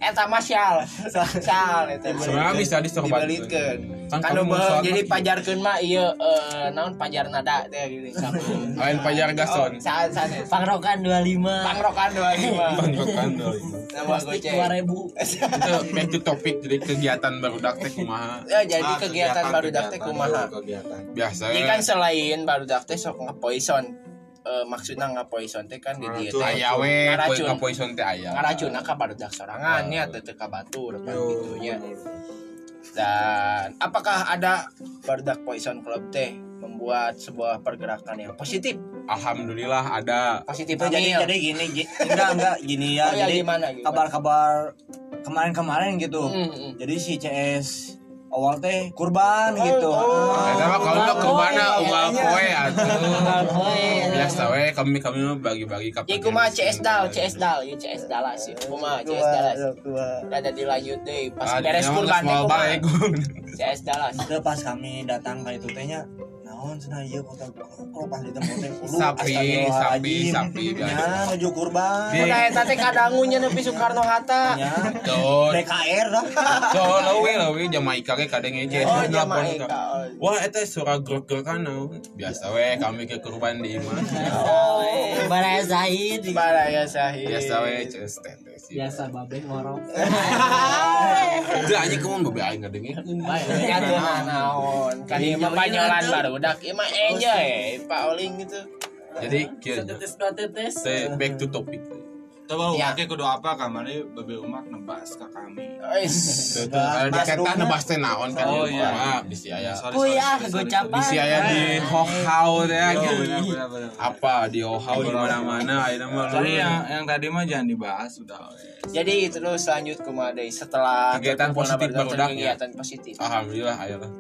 [SPEAKER 1] Eta mah sial. Sial eta.
[SPEAKER 2] Sebenarnya bisa disorban.
[SPEAKER 1] Dibelitkeun.
[SPEAKER 2] Kan
[SPEAKER 1] Kan
[SPEAKER 2] kamu
[SPEAKER 1] beuh
[SPEAKER 2] sholat
[SPEAKER 1] jadi
[SPEAKER 2] mah,
[SPEAKER 1] pajarkeun mah ieu eh, naon pajar nada teh gini. Iya,
[SPEAKER 2] Lain pajar gason.
[SPEAKER 1] Sanes sanes.
[SPEAKER 4] Pangrokan 25.
[SPEAKER 1] Pangrokan doa lima.
[SPEAKER 2] Panggokan doi.
[SPEAKER 1] Nama
[SPEAKER 4] Plastik
[SPEAKER 1] goceng.
[SPEAKER 4] 2000.
[SPEAKER 2] Itu back to topic jadi kegiatan barudak teh kumaha.
[SPEAKER 1] Ya, jadi kegiatan, baru barudak teh kumaha.
[SPEAKER 5] Kegiatan.
[SPEAKER 2] Biasa.
[SPEAKER 1] Jadi kan selain barudak teh sok ngepoison. Eh maksudna ngepoison teh kan di dieu teh.
[SPEAKER 2] aya we
[SPEAKER 1] Ngaracun.
[SPEAKER 2] poe poison teh aya.
[SPEAKER 1] Ngaracuna ka barudak nah, sorangan nya teh teu ka batur kan kitu nya. Dan apakah ada barudak poison club teh membuat sebuah pergerakan yang positif?
[SPEAKER 2] Alhamdulillah ada.
[SPEAKER 1] Positif
[SPEAKER 6] Itu jadi
[SPEAKER 1] Amil.
[SPEAKER 6] jadi gini, gi- enggak enggak gini
[SPEAKER 1] Oh,
[SPEAKER 6] ya.
[SPEAKER 1] ya,
[SPEAKER 6] Jadi
[SPEAKER 1] gimana, gimana?
[SPEAKER 6] kabar-kabar kemarin-kemarin gitu.
[SPEAKER 1] Mm, mm.
[SPEAKER 6] Jadi si CS awal teh kurban
[SPEAKER 1] Oh,
[SPEAKER 6] gitu.
[SPEAKER 2] Nah, sama kalau lo ke mana
[SPEAKER 1] Iya,
[SPEAKER 2] ugal poe atuh.
[SPEAKER 4] Woi,
[SPEAKER 2] Biasa we kami kami mah bagi-bagi kapal.
[SPEAKER 1] Ya kumaha CS Dal, CS Dal, ya CS Dallas
[SPEAKER 6] Eh,
[SPEAKER 1] ya. Kumaha CS Dallas. Ada dilanjut deh pas beres kurban teh
[SPEAKER 2] mau
[SPEAKER 1] kumaha.
[SPEAKER 2] baik.
[SPEAKER 1] CS Dallas.
[SPEAKER 6] Ke pas kami datang ke itu tehnya, nah naon cenah ieu kota kalau pas di tempat teh kudu
[SPEAKER 2] Sapi, sapi,
[SPEAKER 6] astagfirullahaladzim.
[SPEAKER 2] sapi, biasa.
[SPEAKER 1] Iya.
[SPEAKER 6] Nya nuju kurban.
[SPEAKER 2] Di-
[SPEAKER 6] Nya
[SPEAKER 1] eh,
[SPEAKER 4] Udah eta teh kadangunya nepi Soekarno Hatta.
[SPEAKER 2] Cok,
[SPEAKER 6] DKR dah.
[SPEAKER 2] cok, lewe, lewe, Jamaika ge kadang ngece.
[SPEAKER 1] Oh,
[SPEAKER 2] Nelpon
[SPEAKER 1] Jamaika,
[SPEAKER 2] ka.
[SPEAKER 1] oh.
[SPEAKER 2] Wah, eta suara grok-grok Biasa we, kami ke kurban di imah.
[SPEAKER 1] Iya. Eh,
[SPEAKER 4] Baraya Zahid.
[SPEAKER 1] Baraya ya, Syahid.
[SPEAKER 2] Biasa we, cek tetes.
[SPEAKER 1] Ya,
[SPEAKER 4] Biasa babeng ngorok.
[SPEAKER 2] Udah anjing kamu bebe aing ngadengin.
[SPEAKER 1] Kan dia mah naon. Kan dia mah banyolan barudak. Ieu Iya mah enjoy. Pak Oling gitu.
[SPEAKER 2] Jadi kieu. nya.
[SPEAKER 4] Tetes dua tetes.
[SPEAKER 2] Te- Back to topic.
[SPEAKER 5] Coba
[SPEAKER 1] Ya.
[SPEAKER 5] umat teh kudu apa kamarnya babe umat nebas ke kami.
[SPEAKER 1] Ois.
[SPEAKER 2] Tuh, tuh, ada di kertas nebas teh naon kan
[SPEAKER 5] Oh,
[SPEAKER 2] di
[SPEAKER 5] iya.
[SPEAKER 2] rumah, bisi aya.
[SPEAKER 5] Sorry,
[SPEAKER 4] Kuy
[SPEAKER 5] sorry,
[SPEAKER 4] ah
[SPEAKER 5] sorry, sorry,
[SPEAKER 4] gocapan.
[SPEAKER 2] Bisi aya ya, di Hohau teh
[SPEAKER 5] sorry.
[SPEAKER 1] Iya,
[SPEAKER 5] Yo,
[SPEAKER 2] gitu.
[SPEAKER 5] benar, benar, benar.
[SPEAKER 2] Apa di Hohau di ya. mana-mana ayeuna mah.
[SPEAKER 5] Sorry yang yang tadi mah jangan dibahas Ya. sudah.
[SPEAKER 1] Jadi itu dulu lanjut ke Madai setelah
[SPEAKER 2] Kegiatan
[SPEAKER 1] terkumpul
[SPEAKER 2] positif
[SPEAKER 1] barudak,
[SPEAKER 2] barudak, ya.
[SPEAKER 1] kegiatan positif.
[SPEAKER 2] Alhamdulillah ayolah.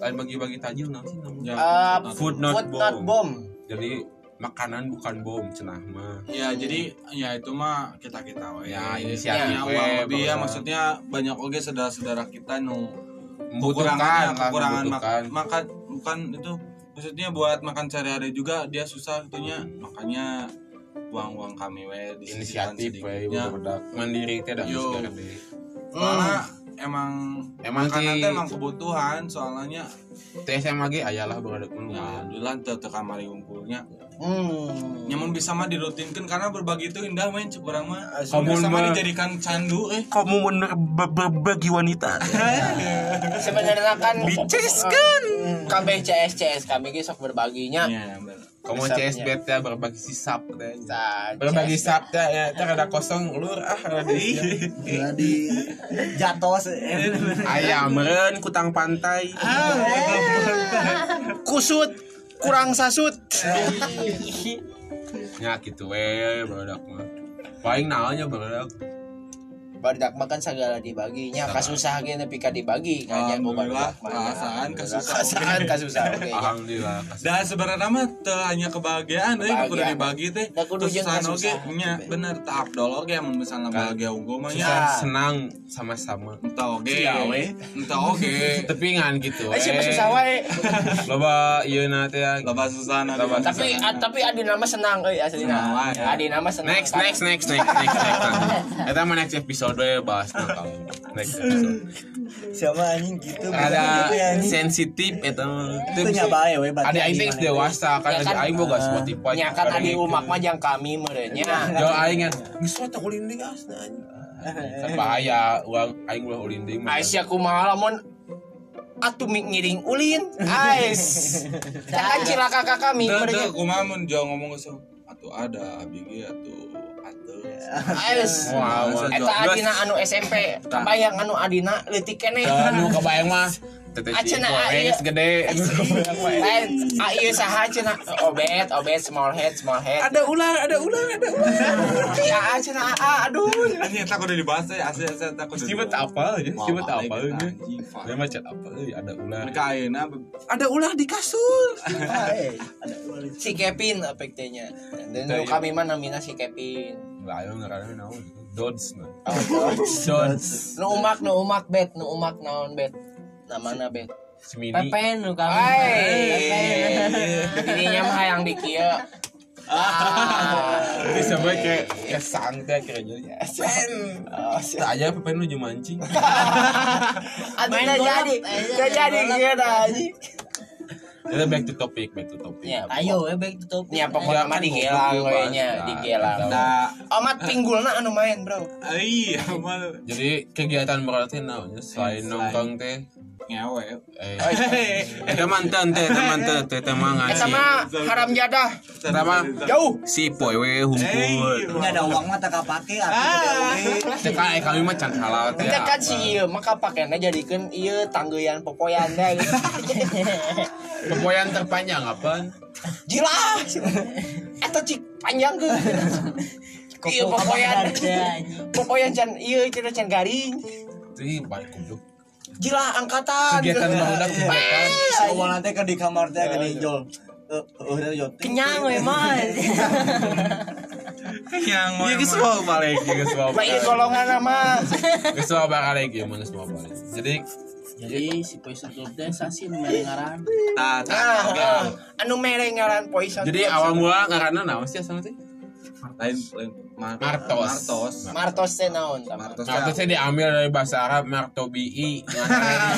[SPEAKER 2] Lain bagi-bagi tajil naon sih namanya?
[SPEAKER 1] Eh,
[SPEAKER 2] Food not
[SPEAKER 1] Food
[SPEAKER 2] bomb.
[SPEAKER 1] not bomb.
[SPEAKER 2] Jadi makanan bukan bom cenah mah.
[SPEAKER 5] Ya jadi ya itu mah kita kita we.
[SPEAKER 2] Ya, inisiatif
[SPEAKER 5] ya,
[SPEAKER 2] we,
[SPEAKER 5] kurang lebih ya
[SPEAKER 2] barudak.
[SPEAKER 5] maksudnya banyak oge saudara-saudara kita nu
[SPEAKER 2] Membutuhkan lah,
[SPEAKER 5] kekurangan mak-
[SPEAKER 2] membutuhkan.
[SPEAKER 5] makan bukan itu maksudnya buat makan sehari-hari juga dia susah itunya makanya uang-uang kami we disisihkan
[SPEAKER 2] Inisiatif we
[SPEAKER 5] sedikitnya.
[SPEAKER 2] budak mandiri teh da
[SPEAKER 5] Ya. Yo.
[SPEAKER 2] geus deh.
[SPEAKER 5] Soalnya emang
[SPEAKER 2] Hmm. Emang
[SPEAKER 5] makanan
[SPEAKER 2] sih-
[SPEAKER 5] teh emang kebutuhan soalnya
[SPEAKER 2] Teh SMA ge ayalah budak mah.
[SPEAKER 5] nah, duluan teu teu kamari unggulnya
[SPEAKER 1] Hmm.
[SPEAKER 5] nyamun bisa mah dirutinkan karena berbagi itu indah men cek urang mah
[SPEAKER 2] Kamu
[SPEAKER 5] bisa
[SPEAKER 2] mah-
[SPEAKER 5] mah dijadikan candu eh
[SPEAKER 2] Kamu berbagi wanita.
[SPEAKER 1] Sebenarnya kan
[SPEAKER 2] Diceskan.
[SPEAKER 1] kabeh CS CS kami ge sok berbaginya.
[SPEAKER 5] Iya, bener.
[SPEAKER 2] Kamu
[SPEAKER 1] Hisapnya.
[SPEAKER 2] CSB teh berbagi sisap teh.
[SPEAKER 1] Nah, CS.
[SPEAKER 2] Berbagi sap teh ya teh rada kosong ulur ah rada isi.
[SPEAKER 6] Jadi jatuh eh,
[SPEAKER 2] Ayam meren kutang pantai.
[SPEAKER 1] Ah. kusut kurang sasut.
[SPEAKER 2] Ya gitu we budak mah. Paling naonnya budak.
[SPEAKER 1] Barudak makan segala dibaginya. Kasusah ge nepi ka dibagi nganya ku
[SPEAKER 5] Ah. Alhamdulillah, Ah,
[SPEAKER 1] barudak mah.
[SPEAKER 5] perasaan kesusahan.
[SPEAKER 1] Kasahan kasusah oge.
[SPEAKER 2] Alhamdulillah. kasih.
[SPEAKER 5] Dan sebenarnya mah teu hanya kebahagiaan, euy kudu
[SPEAKER 1] Kebahagiaan.
[SPEAKER 5] dibagi teh.
[SPEAKER 1] Da kudu jeung
[SPEAKER 5] Kesusahan oge,
[SPEAKER 1] kesusahan.
[SPEAKER 5] nya bener tak abdol oge mun misalnya bahagia unggul mah
[SPEAKER 2] Kan. Susah eh.
[SPEAKER 5] nya.
[SPEAKER 2] senang sama-sama.
[SPEAKER 5] Entah oge,
[SPEAKER 2] Sia, we.
[SPEAKER 5] entah oge.
[SPEAKER 2] Tapi ngan gitu.
[SPEAKER 1] Eh, siapa
[SPEAKER 2] eh.
[SPEAKER 1] susah wae.
[SPEAKER 2] Loba ieu na teh. ya.
[SPEAKER 5] Loba susana.
[SPEAKER 2] Loba
[SPEAKER 5] dia.
[SPEAKER 1] Tapi a- tapi adi nama senang euy
[SPEAKER 5] Senang
[SPEAKER 1] aslina.
[SPEAKER 5] wae, nah, ya.
[SPEAKER 1] Adi nama senang.
[SPEAKER 2] Next, next, next, next, next, next. Eta mah next episode we bahas kamu. Next episode.
[SPEAKER 6] Siapa anjing gitu.
[SPEAKER 2] Ada
[SPEAKER 6] Gitu ya, anjing.
[SPEAKER 2] sensitif eta mah. Teu
[SPEAKER 6] Itu
[SPEAKER 2] bisa-
[SPEAKER 6] nyabae we batu
[SPEAKER 2] Ada aing teh
[SPEAKER 6] anjing, anjing.
[SPEAKER 2] dewasa kan
[SPEAKER 1] Ya
[SPEAKER 2] ada
[SPEAKER 1] kan?
[SPEAKER 2] aing boga
[SPEAKER 1] Ya
[SPEAKER 2] Spotify.
[SPEAKER 1] kan
[SPEAKER 2] Sekarang
[SPEAKER 1] adi
[SPEAKER 2] gitu.
[SPEAKER 1] umak mah jang kami merenya.
[SPEAKER 2] Yo aing kan, geus we teh ulin deui asna anjing." Kan bahaya uang aing ulah ulin deui. mah.
[SPEAKER 1] Aisyah kumaha lamun atuh mi- ngiring ulin. Ais. Jangan cilaka ka kami
[SPEAKER 5] Teu, teu,
[SPEAKER 1] merenya.
[SPEAKER 5] kumaha mun jauh ngomong geus. Atuh ada abg atuh atuh.
[SPEAKER 2] Ya.
[SPEAKER 1] Ais.
[SPEAKER 2] Wah, wah.
[SPEAKER 1] Eta Adina anu SMP, kebayang anu Adina leutik keneh.
[SPEAKER 2] Aduh kebayang mah. Teteh
[SPEAKER 1] Acena,
[SPEAKER 2] goreng
[SPEAKER 1] iya.
[SPEAKER 2] geus gede.
[SPEAKER 4] eh.
[SPEAKER 1] Lain, ah iya saha cenah obet, obet small head, small head.
[SPEAKER 2] Ada ular, ada ular, ada ular.
[SPEAKER 1] Iya ah cenah ah aduh.
[SPEAKER 5] Anjing tak udah dibahas teh, asli asli tak udah.
[SPEAKER 2] Sibet
[SPEAKER 5] dibahas.
[SPEAKER 2] apa aja?
[SPEAKER 5] Wah,
[SPEAKER 2] Sibet
[SPEAKER 5] balik,
[SPEAKER 2] apa aja?
[SPEAKER 5] anjing, fuck.
[SPEAKER 2] ya. Dia macet apa aja? ya, Ada ular.
[SPEAKER 5] Mereka ayeuna be-
[SPEAKER 2] Ada ular di kasur.
[SPEAKER 1] Si Kevin apik teh nya. Dan nu
[SPEAKER 2] Teu, iya.
[SPEAKER 1] kami mah namina si Kevin.
[SPEAKER 2] Lah, ayo ngarana naon? Dodge nah. mah.
[SPEAKER 1] Dodge. Nu umak, nu umak bet, nu umak naon bet. Namana bet.
[SPEAKER 2] Semini.
[SPEAKER 4] Pepen nu kami.
[SPEAKER 1] Hai. Ininya mah yang di kieu. Ah.
[SPEAKER 2] Ini sampai kayak kayak santai kayak jadi. Pen. Tak aja pepen lu jeung mancing.
[SPEAKER 1] Aduh, nggak jadi. Nggak jadi kieu dah anjing.
[SPEAKER 2] Kita Ya, back to topic, back to topic.
[SPEAKER 1] Ya,
[SPEAKER 4] Ayo eh, we back to topic.
[SPEAKER 1] Ya pokoknya mah digelang we nya, digelang.
[SPEAKER 5] da
[SPEAKER 1] Omat pinggulna anu main, Bro.
[SPEAKER 5] ai amal
[SPEAKER 2] Jadi kegiatan berarti naonnya selain nongkrong teh.
[SPEAKER 5] ngewe.
[SPEAKER 2] Eh, Eta mantan teh, eta mantan teh, eta mah
[SPEAKER 1] Eta
[SPEAKER 2] ngasih.
[SPEAKER 1] mah Eh, haram jadah.
[SPEAKER 2] Eta mah
[SPEAKER 1] Jauh.
[SPEAKER 2] si poe we humpul.
[SPEAKER 6] Ini ada uang mah tak kapake
[SPEAKER 4] Ah.
[SPEAKER 6] atuh.
[SPEAKER 2] Teka eh kami mah can halal teh.
[SPEAKER 1] Kita kan si ieu maka pakaiannya jadikeun ieu tanggeyan popoyan deh. gitu.
[SPEAKER 2] Pepoyan terpanjang apaan?
[SPEAKER 1] Jilah. Eta Eh, cik panjang ke. Ieu
[SPEAKER 4] Kopo
[SPEAKER 1] popoyan.
[SPEAKER 4] anjing.
[SPEAKER 1] Popoyan can ieu cenah can garing.
[SPEAKER 2] Ih, balik kubluk.
[SPEAKER 1] Jilah angkatan.
[SPEAKER 2] Kegiatan barudak kegiatan.
[SPEAKER 6] Awal nanti ke di kamar teh ke di jol. Eh, eh, udah, jol.
[SPEAKER 4] Kenyang we mah.
[SPEAKER 2] Yang Iya, geus mau balik, geus mau
[SPEAKER 1] Ma
[SPEAKER 2] balik.
[SPEAKER 1] ieu golongan mah.
[SPEAKER 2] Geus mau balik ya, mun geus mau balik. Jadi
[SPEAKER 4] Jadi si Poison Club teh sasi nu mere ngaran.
[SPEAKER 5] Tah, tah.
[SPEAKER 2] Ah.
[SPEAKER 1] Nah, eh, anu mere ngaran Poison
[SPEAKER 2] Jadi
[SPEAKER 1] Club.
[SPEAKER 2] awal mula karena naon sih asal teh? Nah,
[SPEAKER 5] Lain lain Mar-
[SPEAKER 2] Martos.
[SPEAKER 5] Martos.
[SPEAKER 4] Martos teh naon tama.
[SPEAKER 5] Martos.
[SPEAKER 2] Marto saya diambil dari bahasa Arab martobii.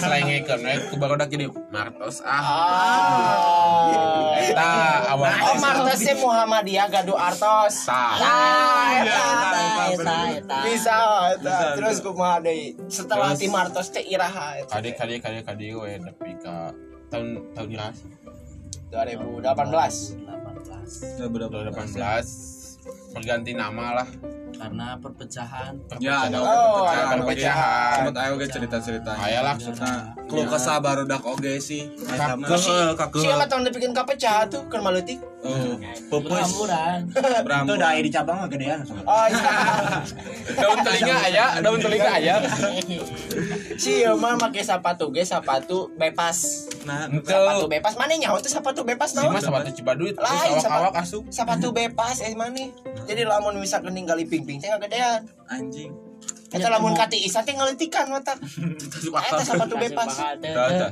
[SPEAKER 2] Slengekeun we ku barudak jadi martos ah.
[SPEAKER 1] Ah.
[SPEAKER 2] Iya,
[SPEAKER 4] Oh.
[SPEAKER 2] Eta Nah, awal
[SPEAKER 1] Nah,
[SPEAKER 4] Oh, Martos teh Muhammadiyah gaduh Artos.
[SPEAKER 2] Tah.
[SPEAKER 4] Ah, eta,
[SPEAKER 5] iya, eta,
[SPEAKER 4] eta,
[SPEAKER 5] eta,
[SPEAKER 4] eta,
[SPEAKER 5] bener.
[SPEAKER 4] eta.
[SPEAKER 1] bisa eta. terus kumaha deui
[SPEAKER 4] Setelah
[SPEAKER 2] Terus.
[SPEAKER 4] tim Martos teh iraha eta.
[SPEAKER 2] Kade kade kade kade we tapi ka tahun tahun ira sih.
[SPEAKER 1] 2018
[SPEAKER 4] 18
[SPEAKER 2] 2018 berganti nama lah.
[SPEAKER 4] karena perpecahan.
[SPEAKER 5] Ya, ada
[SPEAKER 1] Oh,
[SPEAKER 5] perpecahan,
[SPEAKER 1] ada
[SPEAKER 5] oge.
[SPEAKER 2] Perpecahan.
[SPEAKER 5] Sempat ayo ge cerita-ceritanya.
[SPEAKER 2] Ayalah
[SPEAKER 5] Nah, keluh kesah barudak oge sih.
[SPEAKER 2] kakeuh kakeuh.
[SPEAKER 1] siapa tahun dibikin kapecah tuh keur maleutik
[SPEAKER 2] Iya.
[SPEAKER 5] Oh,
[SPEAKER 4] Berhamburan.
[SPEAKER 6] Itu
[SPEAKER 5] Brambo.
[SPEAKER 6] dai di cabang mah gedean. soalnya.
[SPEAKER 1] oh iya
[SPEAKER 2] Daun telinga aya, daun telinga aya.
[SPEAKER 1] si ieu mah make sepatu ge sepatu bebas
[SPEAKER 5] Nah,
[SPEAKER 1] sepatu
[SPEAKER 2] Henteu.
[SPEAKER 1] bebas mana nyaho teh sepatu bebas
[SPEAKER 2] Si
[SPEAKER 1] naon
[SPEAKER 2] Mas sepatu Cibaduit, terus
[SPEAKER 1] Lain,
[SPEAKER 2] awak-awak asup.
[SPEAKER 1] sepatu bebas eh mana jadi lamun misalkan ninggali ping-ping teh gedean
[SPEAKER 5] anjing.
[SPEAKER 1] eta lamun kati isa teh ngalentikan watak eta sepatu bebas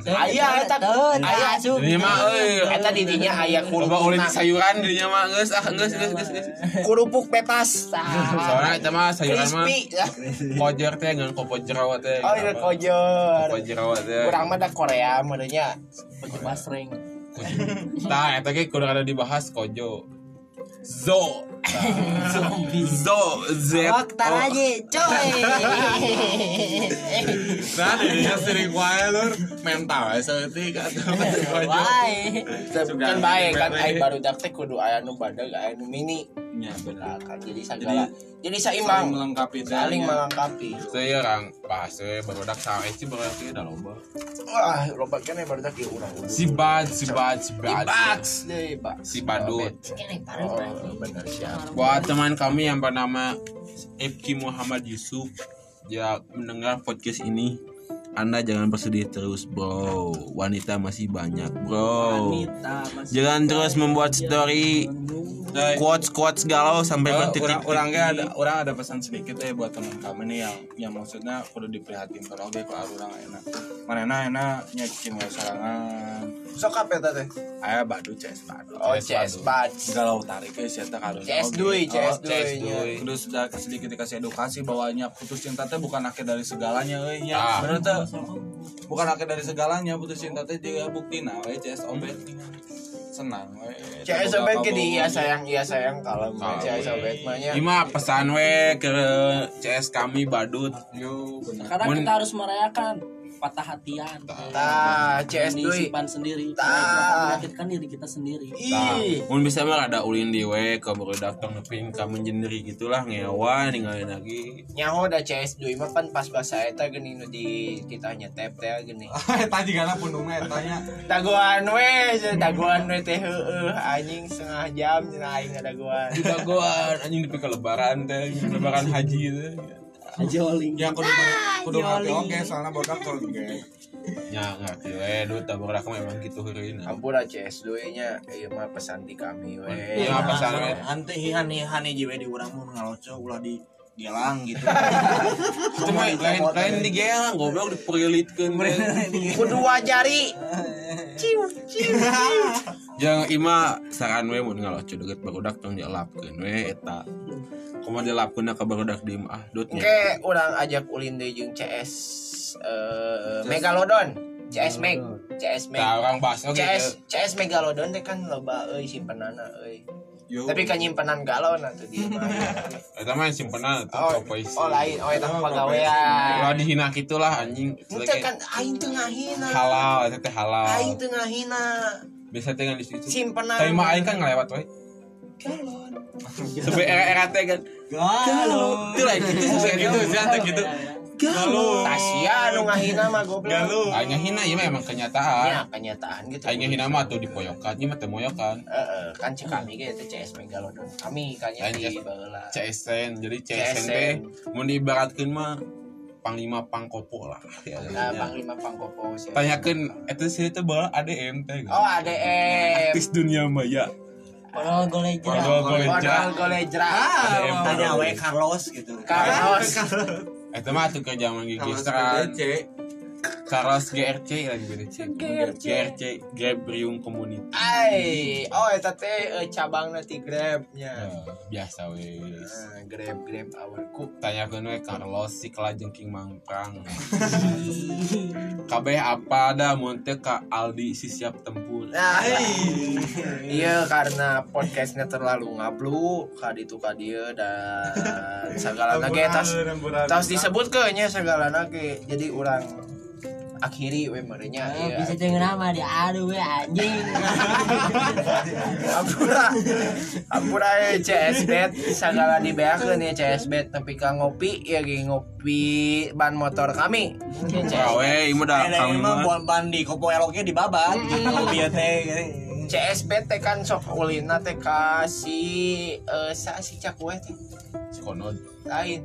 [SPEAKER 1] Aya, eta. Aya,
[SPEAKER 4] asup.
[SPEAKER 2] Ini mah euy.
[SPEAKER 1] eta di dinya aya
[SPEAKER 2] Loba
[SPEAKER 1] kerupuk
[SPEAKER 2] ulah di
[SPEAKER 1] na-
[SPEAKER 2] sayuran dirinya mah geus ah geus geus geus geus.
[SPEAKER 1] kerupuk bebas
[SPEAKER 2] Ah. Soalnya itu mah sayuran mah
[SPEAKER 1] crispy
[SPEAKER 2] kojer teh ngan kopo jerawat teh.
[SPEAKER 1] oh iya kojor
[SPEAKER 2] Kopo jerawat teh.
[SPEAKER 1] kurang mah da Korea modelnya
[SPEAKER 4] Basreng.
[SPEAKER 2] Tah eta Nah, ge kudu ada dibahas kojo. Zo. Zo Z.
[SPEAKER 4] Waktar
[SPEAKER 5] oh.
[SPEAKER 4] aja, coy.
[SPEAKER 5] Nah, dirinya sering wae lur mental ya seutik atuh.
[SPEAKER 4] Why?
[SPEAKER 1] kan baik kan ai baru teh kudu aya nu badag aya nu mini
[SPEAKER 5] Ya, benar.
[SPEAKER 1] Nah, kan jadi segala jadi saimbang
[SPEAKER 5] melengkapi ya. teh.
[SPEAKER 1] saling melengkapi
[SPEAKER 2] Saya orang bahas we barudak sae sih barudak teh da loba.
[SPEAKER 1] wah loba kene baru teh urang udah
[SPEAKER 2] Si bad si bad si bad.
[SPEAKER 1] Bats deh Bats.
[SPEAKER 2] Si badut.
[SPEAKER 1] Oh, bener siap
[SPEAKER 2] Buat teman kami yang bernama Epki Muhammad Yusuf Ya mendengar podcast ini Anda jangan bersedih terus bro Wanita masih banyak bro Jangan terus membuat story
[SPEAKER 5] Coy,
[SPEAKER 2] Quotes-quotes galau sampai
[SPEAKER 5] Oh,
[SPEAKER 2] bertitik
[SPEAKER 5] orang orang ge ada orang ada pesan sedikit ya buat teman kamu nih yang yang maksudnya kudu diprihatin kalau gue kalau orang enak mana enak nyakin wae sarangan
[SPEAKER 1] sok apa eta teh
[SPEAKER 5] aya badu CS badu
[SPEAKER 1] oh CS Bats
[SPEAKER 5] galau tarik ke sia teh kalau
[SPEAKER 1] CS duit CS
[SPEAKER 5] Oh,
[SPEAKER 1] duit
[SPEAKER 5] kudu sudah sedikit dikasih edukasi bahwanya putus cinta teh bukan akhir dari segalanya euy nya
[SPEAKER 2] Ah.
[SPEAKER 5] bener teh bukan akhir dari segalanya putus cinta teh juga bukti nah we CS obet senang we
[SPEAKER 1] CS sobet ke di iya sayang iya sayang kalau mah CS sobet mah nya
[SPEAKER 2] Iya, Ima pesan we ke CS kami badut
[SPEAKER 5] yo bener
[SPEAKER 4] Karena
[SPEAKER 2] Mun-
[SPEAKER 4] kita harus merayakan patah hatian.
[SPEAKER 1] tah CS duit
[SPEAKER 4] disimpan sendiri.
[SPEAKER 1] Tah.
[SPEAKER 4] Menyakitkan diri kita sendiri.
[SPEAKER 1] Iya. ih
[SPEAKER 2] Nah, Mun bisa mah ada ulin di we ke barudak tong neping ka menjenderi gitulah ngewa ninggalin lagi
[SPEAKER 1] nyaho da CS duit mah pan pas bahasa eta geuning nu di kitanya tep teh geuning
[SPEAKER 5] tadi kan pun nunggu tanya
[SPEAKER 1] Daguan we, daguan we teh heueuh anjing setengah jam cenah aing ngadaguan.
[SPEAKER 2] Dagoan anjing dipikir lebaran teh, lebaran haji teh.
[SPEAKER 4] Joling.
[SPEAKER 5] Ya
[SPEAKER 1] Ah,
[SPEAKER 5] kudu kudu ngerti oke soalnya bodak tuh oke.
[SPEAKER 2] Ya ngerti we, duit tabung rakam emang gitu heureuna.
[SPEAKER 1] Ampura CS duit nya ieu mah pesan di kami we.
[SPEAKER 2] Iya apa salah we?
[SPEAKER 6] Hante hihan-hihan hiji we di urang mun ngaloco ulah di gelang gitu.
[SPEAKER 2] Cuma lain lain digelang goblok diperilitkeun. we.
[SPEAKER 1] Kudu wajari.
[SPEAKER 2] Jangan ima saran we mun ngaloco deukeut barudak tong dielapkeun we eta. Kumaha dielapkeun ka barudak diem ah dut nya.
[SPEAKER 1] Engke urang ajak ulin deui jeung CS eh, Megalodon, CS Meg, CS
[SPEAKER 2] Tah
[SPEAKER 1] Meg.
[SPEAKER 2] urang bahas oge.
[SPEAKER 1] CS CS Megalodon teh kan loba euy simpenanna euy.
[SPEAKER 5] Yo.
[SPEAKER 1] Tapi kan nyimpenan galon atuh dia mah.
[SPEAKER 2] Eta mah simpenan tuh
[SPEAKER 1] Oh,
[SPEAKER 2] propoisi.
[SPEAKER 1] oh lain, oh eta mah
[SPEAKER 2] Ulah
[SPEAKER 1] pagawean.
[SPEAKER 2] dihina kitu lah anjing. Itu
[SPEAKER 1] Itu
[SPEAKER 2] lagi
[SPEAKER 1] kan aing teu ngahina.
[SPEAKER 2] halal, eta teh
[SPEAKER 1] Aing
[SPEAKER 2] halal.
[SPEAKER 1] teu ngahina.
[SPEAKER 2] Biasa teh di situ.
[SPEAKER 1] Simpenan.
[SPEAKER 2] Tapi mah aing kan ngelewat we. Sampai era-era teh kan. Galau. Itu lah gitu sih kayak
[SPEAKER 4] Iya,
[SPEAKER 2] gitu sih teh gitu. Galau.
[SPEAKER 1] Tasya nu ngahina mah goblok.
[SPEAKER 2] Aing ngehina ieu mah emang
[SPEAKER 1] Ya
[SPEAKER 2] kenyataan.
[SPEAKER 1] kenyataan gitu.
[SPEAKER 2] Aing ngehina mah tuh dipoyokan, ieu mah teu moyokan.
[SPEAKER 1] Heeh, kan cek kami ge teh CS Megalodon. Kami kan nya di Ah, baheula.
[SPEAKER 2] CSN, jadi
[SPEAKER 1] CSN.
[SPEAKER 2] CSN teh mun diibaratkeun mah panglima pangkopo lah. Ya,
[SPEAKER 1] Nah,
[SPEAKER 2] ya.
[SPEAKER 1] Panglima Pangkopo sih.
[SPEAKER 2] Tanyakeun eta sih teh bae ADM teh. gitu.
[SPEAKER 1] Oh, ADM.
[SPEAKER 2] Artis dunia maya.
[SPEAKER 4] Padahal golek
[SPEAKER 2] Iya, Padahal golek
[SPEAKER 1] Modal
[SPEAKER 2] jalan.
[SPEAKER 1] golejra.
[SPEAKER 2] ADM.
[SPEAKER 6] Tanya we Carlos gitu.
[SPEAKER 1] Kaos.
[SPEAKER 2] Eta mah tuh ke zaman gigisan. Karos GRC lain beda cek.
[SPEAKER 4] GRC.
[SPEAKER 2] GRC Gabrium Community.
[SPEAKER 1] Ai, oh eta teh eh, cabangna ti Grab-nya.
[SPEAKER 2] Eh, biasa wes.
[SPEAKER 1] Nah, Grab Grab our cook.
[SPEAKER 2] Tanyakeun we Carlos si kelajeng King Mangprang. Kabeh apa dah mun teu ka Aldi si siap tempur.
[SPEAKER 1] Nah, iya karena podcastnya terlalu ngablu kadi itu kadi dan segala lagi tas tas disebut ke nya segala lagi jadi orang akhiri we merenya
[SPEAKER 4] Oh,
[SPEAKER 1] iya
[SPEAKER 4] bisa denger nama dia aduh we anjing
[SPEAKER 1] ampura ampura ya CS eh, bet segala dibeakeun ya CS bet tapi ka ngopi ya ge ngopi ban motor kami Ya, CS
[SPEAKER 2] Rawe, ieu dah
[SPEAKER 6] Ada
[SPEAKER 2] kami
[SPEAKER 6] yang mah
[SPEAKER 2] mah.
[SPEAKER 6] buat bandi, kopo eloknya dibabat. Kalau dia teh,
[SPEAKER 1] CSB teh kan sok ulina teh ka si eh, sa si cakwe teh
[SPEAKER 2] Si Konod.
[SPEAKER 1] lain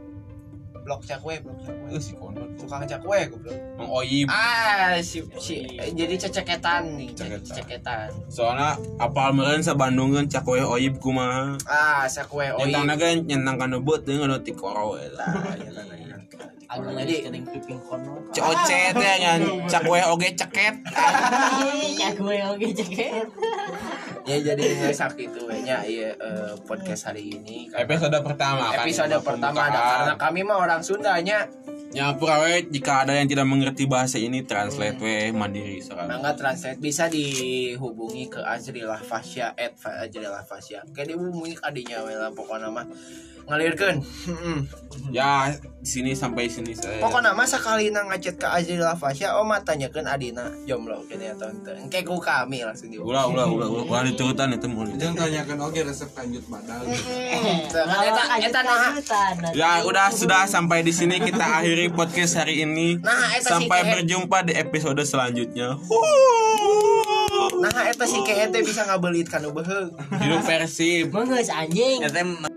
[SPEAKER 1] blok cakwe blok
[SPEAKER 2] Eh
[SPEAKER 1] cakwe
[SPEAKER 2] si Konod.
[SPEAKER 1] tukang cakwe goblok
[SPEAKER 2] Mang Oyib.
[SPEAKER 1] ah si si eh, jadi ceceketan nih
[SPEAKER 2] Ceceketan.
[SPEAKER 1] ceceketan
[SPEAKER 2] Soalnya apal meureun sa Bandungeun cak we Oyib kumaha.
[SPEAKER 1] ah sakwe oi
[SPEAKER 2] Nyentang naga nyentang kana beut dengan roti koro eta.
[SPEAKER 6] iya,
[SPEAKER 4] aduh lagi kering piping kono
[SPEAKER 2] COC teh ngan ya, cak we oge ceket.
[SPEAKER 4] ya gue oke ceket
[SPEAKER 1] ya jadi ngesak itu we nya iya eh, podcast hari ini
[SPEAKER 2] Episode pertama kan.
[SPEAKER 1] episode pertama ada karena kami mah orang Sundanya
[SPEAKER 2] Nyapura we jika ada yang tidak mengerti bahasa ini translate we mandiri sekarang.
[SPEAKER 1] mangga translate bisa dihubungi ke Azrilah Fasya at Fa- Azrilah Fasya kayak dihubungi kadinya we lah pokoknya mah ngalirkan
[SPEAKER 2] Ya, di sini sampai sini saya.
[SPEAKER 1] pokoknya mah sekali na ngechat ke Azrilah Fasya oh matanya kan Adina jomblo kini ya tonton kayak ku kami langsung di
[SPEAKER 2] Ulah, ulah, ulah, ulah, ulah diturutan itu mulu.
[SPEAKER 5] Jangan tanyakan oke resep lanjut badal.
[SPEAKER 1] eta eta naha
[SPEAKER 2] Ya, udah sudah sampai di sini kita akhiri podcast hari ini.
[SPEAKER 1] Nah, eta sih,
[SPEAKER 2] sampai
[SPEAKER 1] Teh.
[SPEAKER 2] berjumpa di episode selanjutnya.
[SPEAKER 1] naha eta si keete bisa ngabelit kan beheung
[SPEAKER 2] Hidup versi
[SPEAKER 4] gue anjing
[SPEAKER 6] ya teh